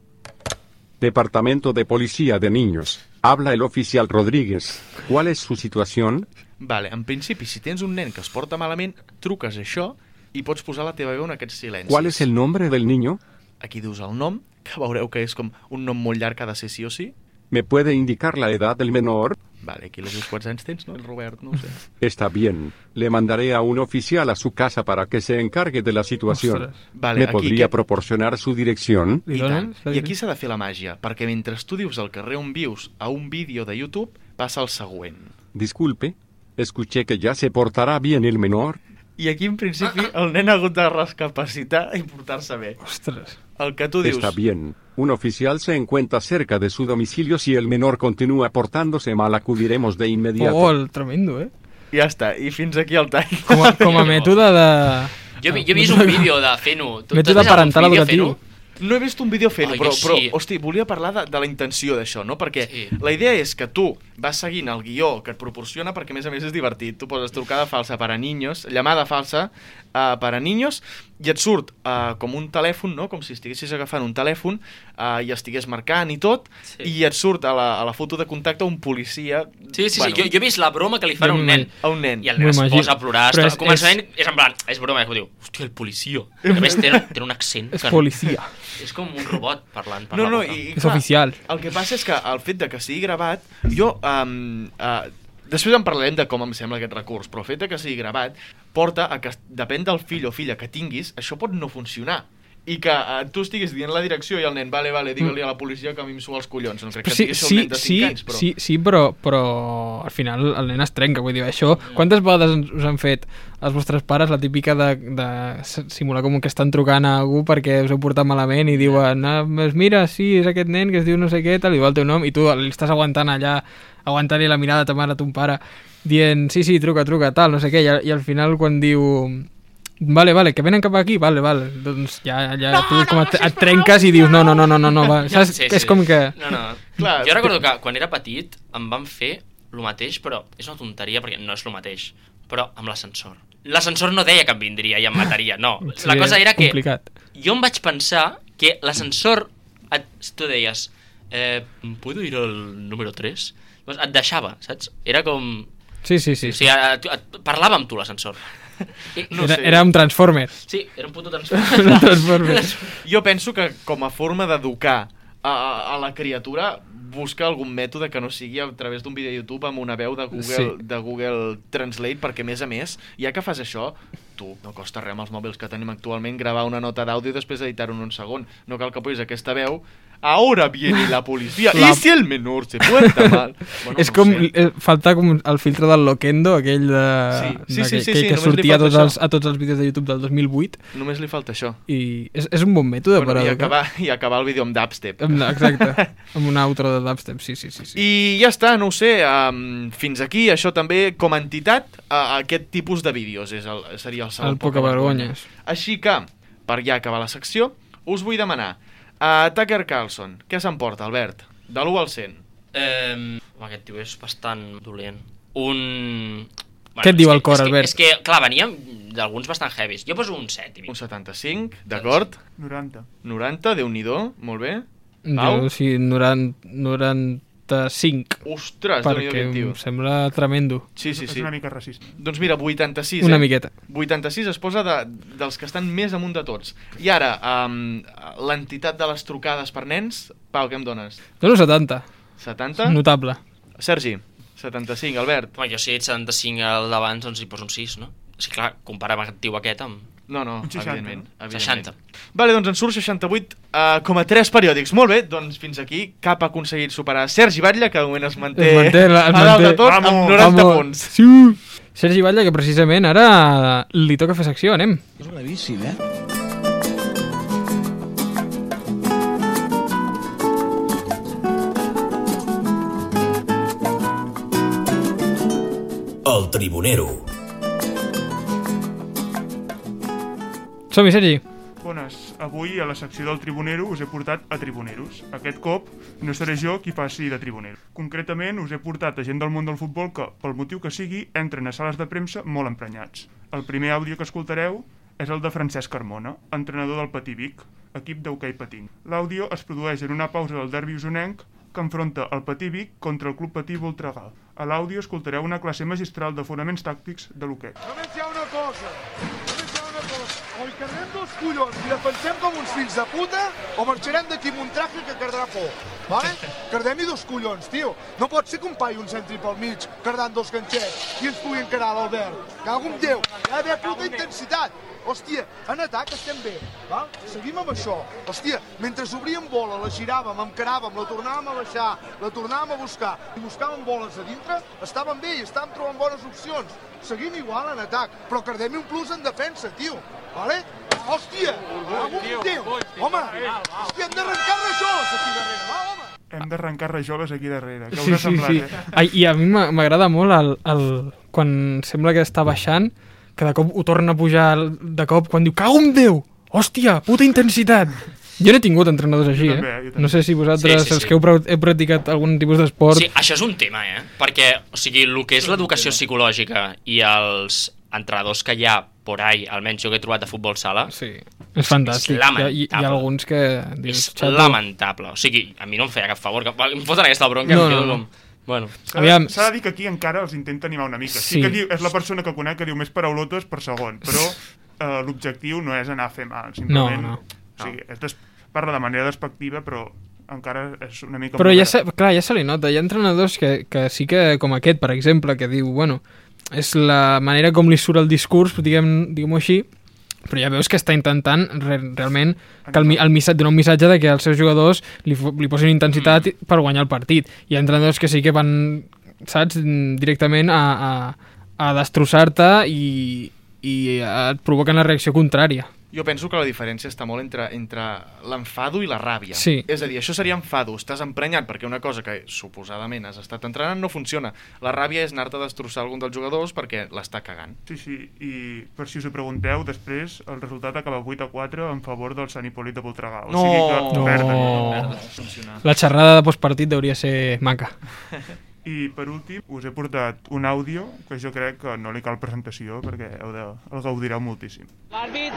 S9: Departamento de Policía de Niños. Habla el oficial Rodríguez. ¿Cuál es su situación?
S3: Vale, en principi, si tens un nen que es porta malament, truques això i pots posar la teva veu en aquests silencis.
S9: ¿Cuál es el nombre del niño?
S3: Aquí dius el nom, que veureu que és com un nom molt llarg que ha de ser sí o sí.
S9: ¿Me puede indicar la edad del menor?
S3: Vale, aquí les dius quants anys tens, no? El Robert, no ho sé.
S9: Está bien. Le mandaré a un oficial a su casa para que se encargue de la situación.
S2: Ostras.
S3: Vale,
S9: ¿Me
S3: aquí
S9: podría
S3: que-
S9: proporcionar su dirección?
S2: Li
S3: I,
S2: donen?
S3: tant. I aquí s'ha de fer la màgia, perquè mentre tu dius el carrer on vius a un vídeo de YouTube, passa el següent.
S9: Disculpe. Escuché que ya se portará bien el menor.
S3: I aquí, en principi, el nen ha hagut de rescapacitar i portar-se bé.
S2: Ostres.
S3: El que tu dius...
S9: Está bien. Un oficial se encuentra cerca de su domicilio. Si el menor continúa portándose mal, acudiremos de inmediato.
S2: Oh, el tremendo, eh?
S3: Ja està, i fins aquí el tall.
S2: Com a, com a mètode de...
S5: Jo, vi- jo he vist un vídeo de fent-ho. Tu- tu has
S2: Mètode
S5: vist algun
S2: parental
S5: vídeo
S2: educatiu.
S5: fent-ho?
S3: No he vist un vídeo fent,
S5: Ai,
S3: però,
S5: jo
S3: però,
S5: sí.
S3: hosti, volia parlar de, de la intenció d'això, no? Perquè
S5: Sí.
S3: la idea és que tu vas seguint el guió que et proporciona perquè, a més a més, és divertit. Tu poses trucada falsa per a niños, llamada falsa uh, per a niños, i et surt uh, com un telèfon, no? Com si estiguessis agafant un telèfon uh, i estigués marcant i tot,
S5: Sí.
S3: i et surt a la, a la foto de contacte un policia...
S5: Sí, sí, sí. Jo, jo he vist la broma que li fan a
S2: Jo
S5: un
S2: m'ho
S5: nen.
S3: A un nen.
S5: I el
S2: M'ho
S5: nen es
S2: imagino.
S5: posa a plorar.
S2: Però
S5: Però
S2: és-
S5: és, començament és... en plan, és broma, que diu, hòstia, el policia. I a més té, té un accent.
S2: És
S5: que-
S2: policia.
S5: És com un robot parlant per
S3: No,
S5: la
S3: no,
S5: boca.
S3: i, i
S2: És oficial.
S3: El que passa és que el fet de que sigui gravat, jo... Um, uh, després en parlarem de com em sembla aquest recurs, però el fet de que sigui gravat porta a que, depèn del fill o filla que tinguis, això pot no funcionar. I que uh, tu estiguis dient la direcció i el nen, vale, vale, digue-li a la policia que a mi em suar els collons. No crec
S2: Però
S3: que
S2: sí,
S3: digués el
S2: sí,
S3: nen de 5
S2: sí,
S3: anys, però...
S2: sí, sí, però, però al final el nen es trenca, vull dir, això... Quantes vegades ens- us han fet els vostres pares la típica de, de s- simular com que estan trucant a algú perquè us heu portat malament i diuen, ah, doncs mira, sí, és aquest nen que es diu no sé què, tal, i diu el teu nom, i tu li estàs aguantant allà, aguantant-li la mirada a ta mare, a ton pare, dient, sí, sí, truca, truca, tal, no sé què, i, al- i al final quan diu... Vale, vale, que venen cap aquí, vale, vale. Doncs ja, ja no, tu com et, et trenques i dius no, no, no, no, no, no va. Saps?
S5: Sí,
S2: que és
S5: sí.
S2: com que...
S5: No, no.
S3: Clar,
S5: jo recordo que quan era petit em van fer el mateix, però és una tonteria perquè no és el mateix, però amb l'ascensor. L'ascensor no deia que em vindria i em mataria, no.
S2: Sí,
S5: La cosa era que
S2: Complicat.
S5: jo em vaig pensar que l'ascensor, et- si tu deies, eh, ¿puedo ir al número 3? Llavors et deixava, saps? Era com...
S2: Sí, sí, sí.
S5: O
S2: sí
S5: sigui, et, et parlava amb tu l'ascensor. I-
S3: no
S2: era,
S3: sé.
S2: era un Transformer.
S5: Sí, era un puto
S2: Un
S5: transformador.
S2: Transformer.
S3: Jo penso que com a forma d'educar a, a, a la criatura busca algun mètode que no sigui a través d'un vídeo de YouTube amb una veu de Google,
S2: Sí.
S3: sí. de Google Translate, perquè a més a més, ja que fas això, tu, no costa res amb els mòbils que tenim actualment gravar una nota d'àudio i després editar-ho en un segon. No cal que posis aquesta veu Ahora viene la policía.
S2: La-
S3: La... ¿Y si el menor se porta mal? Bueno,
S2: és com,
S3: No ho sé.
S2: eh, falta com el filtre del Loquendo, aquell de,
S3: Sí, sí,
S2: d'aquell-
S3: sí, sí,
S2: aquell
S3: sí,
S2: que
S3: només li
S2: sortia a
S3: falta
S2: tots, els,
S3: això.
S2: a tots els vídeos de YouTube del 2008
S3: Només li falta això.
S2: i és, és un bon mètode
S3: Bueno,
S2: per
S3: i,
S2: educar.
S3: acabar, I acabar el vídeo amb dubstep.
S2: Amb la- Exacte, amb una outro de dubstep, sí, sí, sí. sí.
S3: I ja està, no ho sé, um, fins aquí, això també, com a entitat, a, a aquest tipus de vídeos és el, seria el segon
S2: El pocavergonyes.
S3: Així que, per ja acabar la secció, us vull demanar, a Tucker Carlson, què s'emporta, Albert? De l'1 al 100.
S5: Eh, aquest tio és bastant dolent. Un...
S2: Què et diu
S5: és
S2: el
S5: que-
S2: cor,
S5: és que,
S2: Albert?
S5: És que, clar, veníem d'alguns bastant heavies. Jo poso un 7 i
S3: Un
S5: mig.
S3: 75, d'acord?
S8: 90.
S3: 90, déu nhi molt bé. Pau?
S2: Jo, sí, 90, 95,
S3: Ostres, déu nhi
S2: perquè
S3: aquest
S2: em
S3: tio.
S2: sembla tremendo.
S3: Sí, sí,
S8: És
S3: sí.
S8: una mica racista.
S3: Doncs mira, 86,
S2: Una
S3: eh?
S2: miqueta.
S3: 86 es posa de, dels que estan més amunt de tots. I ara, um, l'entitat de les trucades per nens, Pau, què em dones?
S2: Dono 70,
S3: 70? No.
S2: notable.
S3: Sergi, 75. Albert,
S5: Home, jo si he dit 75 al d'abans, doncs hi poso un 6, no? És que, clar, compara amb el tio aquest amb...
S3: No, no,
S8: Un 60,
S3: evidentment,
S8: no?
S3: evidentment.
S5: 60.
S3: Vale, doncs en surt 68 uh, com a 3 periòdics. Molt bé, doncs fins aquí. Cap ha aconseguit superar Sergi Batlle, que de moment es manté,
S2: Es manté, la- es
S3: a dalt de
S2: manté.
S3: tot
S8: Vamos.
S3: amb 90
S2: Vamos.
S3: punts.
S2: Sí. Sergi Batlle, que precisament ara li toca fer secció, anem.
S1: És gravíssim, eh? El Tribunero.
S2: Som-hi, Sergi.
S8: Bones, avui a la secció del Tribunero us he portat a Tribuneros. Aquest cop no seré jo qui faci de Tribunero. Concretament us he portat a gent del món del futbol que, pel motiu que sigui, entren a sales de premsa molt emprenyats. El primer àudio que escoltareu és el de Francesc Carmona, entrenador del Patí Vic, equip d'hoquei patint. L'àudio es produeix en una pausa del derbi usonenc que enfronta el Patí Vic contra el Club Patí Voltregà. A l'àudio escoltareu una classe magistral de fonaments tàctics de l'hoquei.
S10: Només hi ha una cosa, només hi ha una cosa. O hi quedem dels collons i defensem com uns fills de puta o marxarem d'aquí amb un traje que quedarà por. Vale? Cardem-hi dos collons, tio. No pot ser que un paio ens entri pel mig cardant dos ganxets i ens pugui encarar l'Albert. Cago en Déu. Hi ha d'haver puta intensitat. Hòstia, en atac estem bé, val? Seguim amb això. Hòstia, mentre obríem bola, la giràvem, encaràvem, la tornàvem a baixar, la tornàvem a buscar i buscàvem boles a dintre, estàvem bé i estàvem trobant bones opcions. Seguim igual en atac, però cardem un plus en defensa, tio. Vale? Hòstia! Algun Déu! Home! Hòstia, hem d'arrencar rajoles aquí darrere, va, home!
S8: Hem d'arrencar rajoles aquí darrere. Què us
S2: Sí,
S8: ha
S2: sí,
S8: semblat,
S2: sí.
S8: eh?
S2: Ai, I a mi m'a- m'agrada molt el, el, quan sembla que està baixant, que de cop ho torna a pujar el- de cop, quan diu, cago en Déu! Hòstia, puta intensitat! Jo n'he tingut entrenadors així,
S8: també,
S2: eh?
S8: jo també.
S2: No sé si vosaltres,
S5: Sí, sí,
S2: els
S5: sí.
S2: que heu pra- heu practicat algun tipus d'esport...
S5: Sí, això és un tema, eh? Perquè, o sigui, el que és l'educació psicològica i els entrenadors que hi ha por ahí, almenys jo que he trobat a futbol sala,
S2: sí. És fantàstic. Hi ha, hi, hi ha
S5: lamentable.
S2: alguns que...
S5: és
S2: Dius, xato,
S5: lamentable. O sigui, a mi no em feia cap favor, que em foten aquesta bronca,
S2: No,
S5: em
S2: no,
S5: quedo
S2: no.
S5: com... Bueno,
S8: S'ha de,
S2: Aviam.
S8: s'ha de dir que aquí encara els intenta animar una mica. Sí,
S2: Sí.
S8: que diu, és la persona que conec que diu més paraulotes per segon, però eh, l'objectiu no és anar a fer mal, simplement...
S2: No, no.
S8: O sigui, és des... parla de manera despectiva, però encara és una mica...
S2: Però ja
S8: moderat.
S2: se, clar, ja se li nota. Hi ha entrenadors que, que sí que, com aquest, per exemple, que diu, bueno, és la manera com li surt el discurs, diguem-ho diguem diguem-ho així, però ja veus que està intentant re, realment que el, mi- el missatge, donar un missatge de que els seus jugadors li, fo- li posin intensitat per guanyar el partit. Hi ha entrenadors que sí que van, saps, mm, directament a, a, a destrossar-te i, i et provoquen la reacció contrària.
S3: Jo penso que la diferència està molt entre, entre l'enfado i la ràbia.
S2: Sí.
S3: És a dir, això seria enfado, estàs emprenyat perquè una cosa que suposadament has estat entrenant no funciona. La ràbia és anar-te a destrossar algun dels jugadors perquè l'està cagant.
S8: Sí, sí, i per si us ho pregunteu, després el resultat acaba 8 a 4 en favor del Sant Hipòlit de Voltregà. O sigui que
S3: No.
S8: perden.
S2: La xerrada de postpartit hauria de ser maca.
S8: I per últim, us he portat un àudio que jo crec que no li cal presentació perquè heu de, el gaudireu moltíssim.
S11: L'àrbit,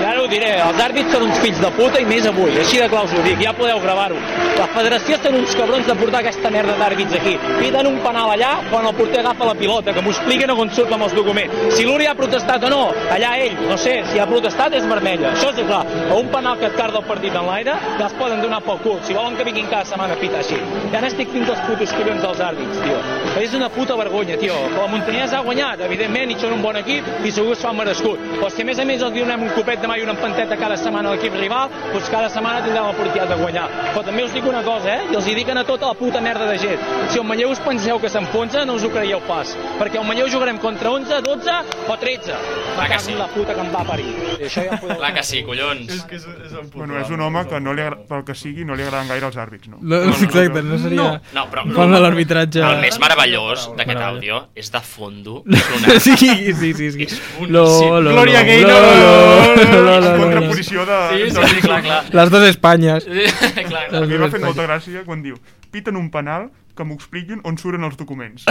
S11: ja ara ho diré, els àrbits són uns fills de puta i més avui, així de claus ho dic, ja podeu gravar-ho. La federació són uns cabrons de portar aquesta merda d'àrbits aquí. Piden un penal allà quan el porter agafa la pilota, que m'ho expliquen on surt amb els documents. Si l'Uri ha protestat o no, allà ell, no sé, si ha protestat és vermella, això és clar. A un penal que et carda el partit en l'aire, ja es poden donar pel cul, si volen que vinguin cada setmana a pitar així. Ja n'estic fins als putos collons dels àrbits, tio. És una puta vergonya, tio. La Montanyès ha guanyat, evidentment, i són un bon equip i segur que s'ho han merescut. Però si a més a més els donem un copet de mà i una empanteta cada setmana a l'equip rival, doncs cada setmana tindrem l'oportunitat de guanyar. Però també us dic una cosa, eh? I els hi dic a tota la puta merda de gent. Si el Manlleu us penseu que s'enfonsa, no us ho creieu pas. Perquè el Manlleu jugarem contra 11, 12 o 13.
S5: Va
S11: Va
S5: que
S11: que
S5: sí.
S11: La puta que em va parir. I això ja ho podeu...
S5: clar que sí, collons.
S3: que és, és un
S8: Bueno, és un home que no li agra... pel que sigui no li agraden gaire els àrbits, no?
S2: No, exacte, no seria...
S5: No, però
S2: Quan de l'arbitratge...
S5: el més meravellós d'aquest
S2: Meravellós.
S5: àudio és de fondo
S2: sí,
S5: sonant.
S2: sí, sí, sí, sí.
S5: boníssim.
S2: Lo, lo,
S3: Gloria
S2: lo,
S3: Gaynor.
S2: lo, lo, lo, lo, lo, lo.
S8: Contraposició de...
S5: Sí,
S8: de-
S5: sí, sí, clar, clar.
S2: Les dues Espanyes.
S5: Sí, clar, clar.
S8: A mi
S2: Les
S8: m'ha
S2: dues
S8: fet molta
S2: Espanyes.
S8: gràcia quan diu piten un penal que m'ho expliquin on surten els documents.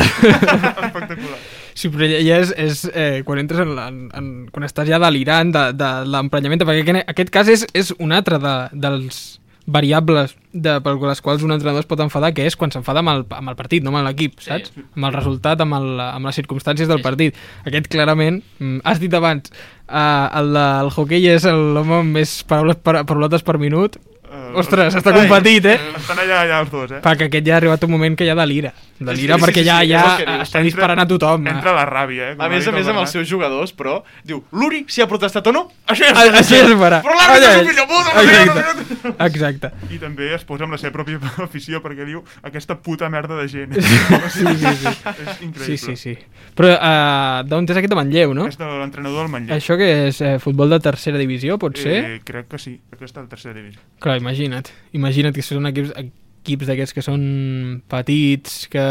S8: Espectacular.
S2: Sí, però ja- ja és, és eh, quan entres en, la, en, en quan estàs ja delirant de, de l'emprenyament, perquè aquest, aquest cas és, és un altre de, dels variables de, per les quals un entrenador es pot enfadar, que és quan s'enfada amb, el, amb el partit, no amb l'equip,
S5: Sí.
S2: saps? Amb el resultat, amb, el, amb les circumstàncies del partit. Aquest, clarament, mm, has dit abans, eh, el del hoquei és el- l'home amb més paraules, par, paraulotes per minut,
S8: El
S2: Ostres, està competit, eh?
S8: Estan allà, allà els dos, eh?
S2: Perquè aquest ja ha arribat un moment que ja delira. Delira
S3: Sí, sí,
S2: perquè
S3: sí,
S2: ja,
S3: sí, és el que
S2: ja
S3: dius.
S2: està
S3: Entra-
S2: disparant a tothom.
S3: entra
S8: la ràbia, eh?
S3: A més a més amb els seus jugadors, però, diu, l'Uri, si ha protestat o no, això ja
S2: A- Ah, Això és vera.
S3: Però l'àrbitre
S2: Allà
S3: és un fill de puta!
S2: Exacte. Exacte.
S8: I també es posa amb la seva pròpia afició perquè diu aquesta puta merda de gent.
S2: Sí, sí, sí.
S8: És
S2: Sí,
S8: increïble.
S2: sí, sí. Però uh, d'on és aquest de Manlleu, no?
S8: És de l'entrenador del Manlleu.
S2: Això que és eh, futbol de tercera divisió, pot ser?
S8: Eh, crec que sí, crec que està a la tercera divisió.
S2: Clar, imagina't. Imagina't que són equips, equips d'aquests que són petits, que,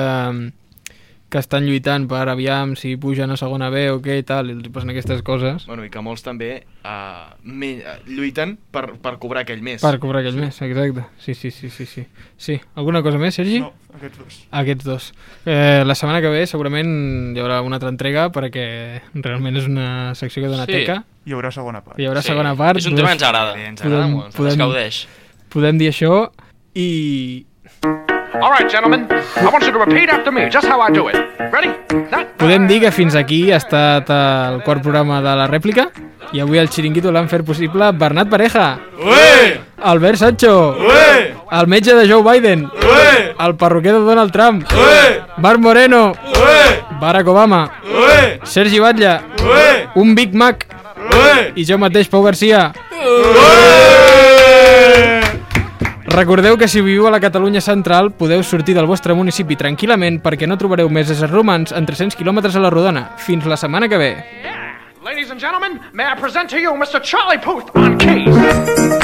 S2: que estan lluitant per aviam si pugen a segona B o què i tal, i els hi passen aquestes coses
S3: Bueno, i que molts també uh, me, eh, lluiten per, per cobrar aquell mes.
S2: per cobrar aquell mes, exacte. Sí, sí, sí, sí, sí. Sí, alguna cosa més, Sergi? No,
S8: aquests dos.
S2: Aquests dos. Eh, la setmana que ve segurament hi haurà una altra entrega perquè realment és una secció que dona
S5: Sí.
S2: teca.
S8: Hi haurà segona part.
S2: Hi haurà
S5: Sí,
S2: segona part.
S5: és un tema que ens agrada. Ens agrada molt, ens gaudeix.
S2: Podem dir això i
S12: All right, gentlemen, I want you to repeat after me just how I do it. Ready?
S2: podem dir que fins aquí ha estat el quart programa de la rèplica i avui el xiringuito l'han fet possible Bernat Pareja,
S3: Ué!
S2: Albert Sancho,
S3: Ué!
S2: el metge de Joe Biden,
S3: Ué!
S2: el perruquer de Donald Trump, Ué! Marc Moreno,
S3: Ué!
S2: Barack Obama,
S3: Ué!
S2: Sergi Batlle,
S3: Ué!
S2: un Big Mac
S3: Ué!
S2: i jo mateix, Pau Garcia. Recordeu que si viviu a la Catalunya central podeu sortir del vostre municipi tranquil·lament perquè no trobareu més éssers romans en 300 quilòmetres a la rodona. Fins la setmana que ve.
S12: Ladies and gentlemen, may I present to you Mr. Charlie Puth on keys.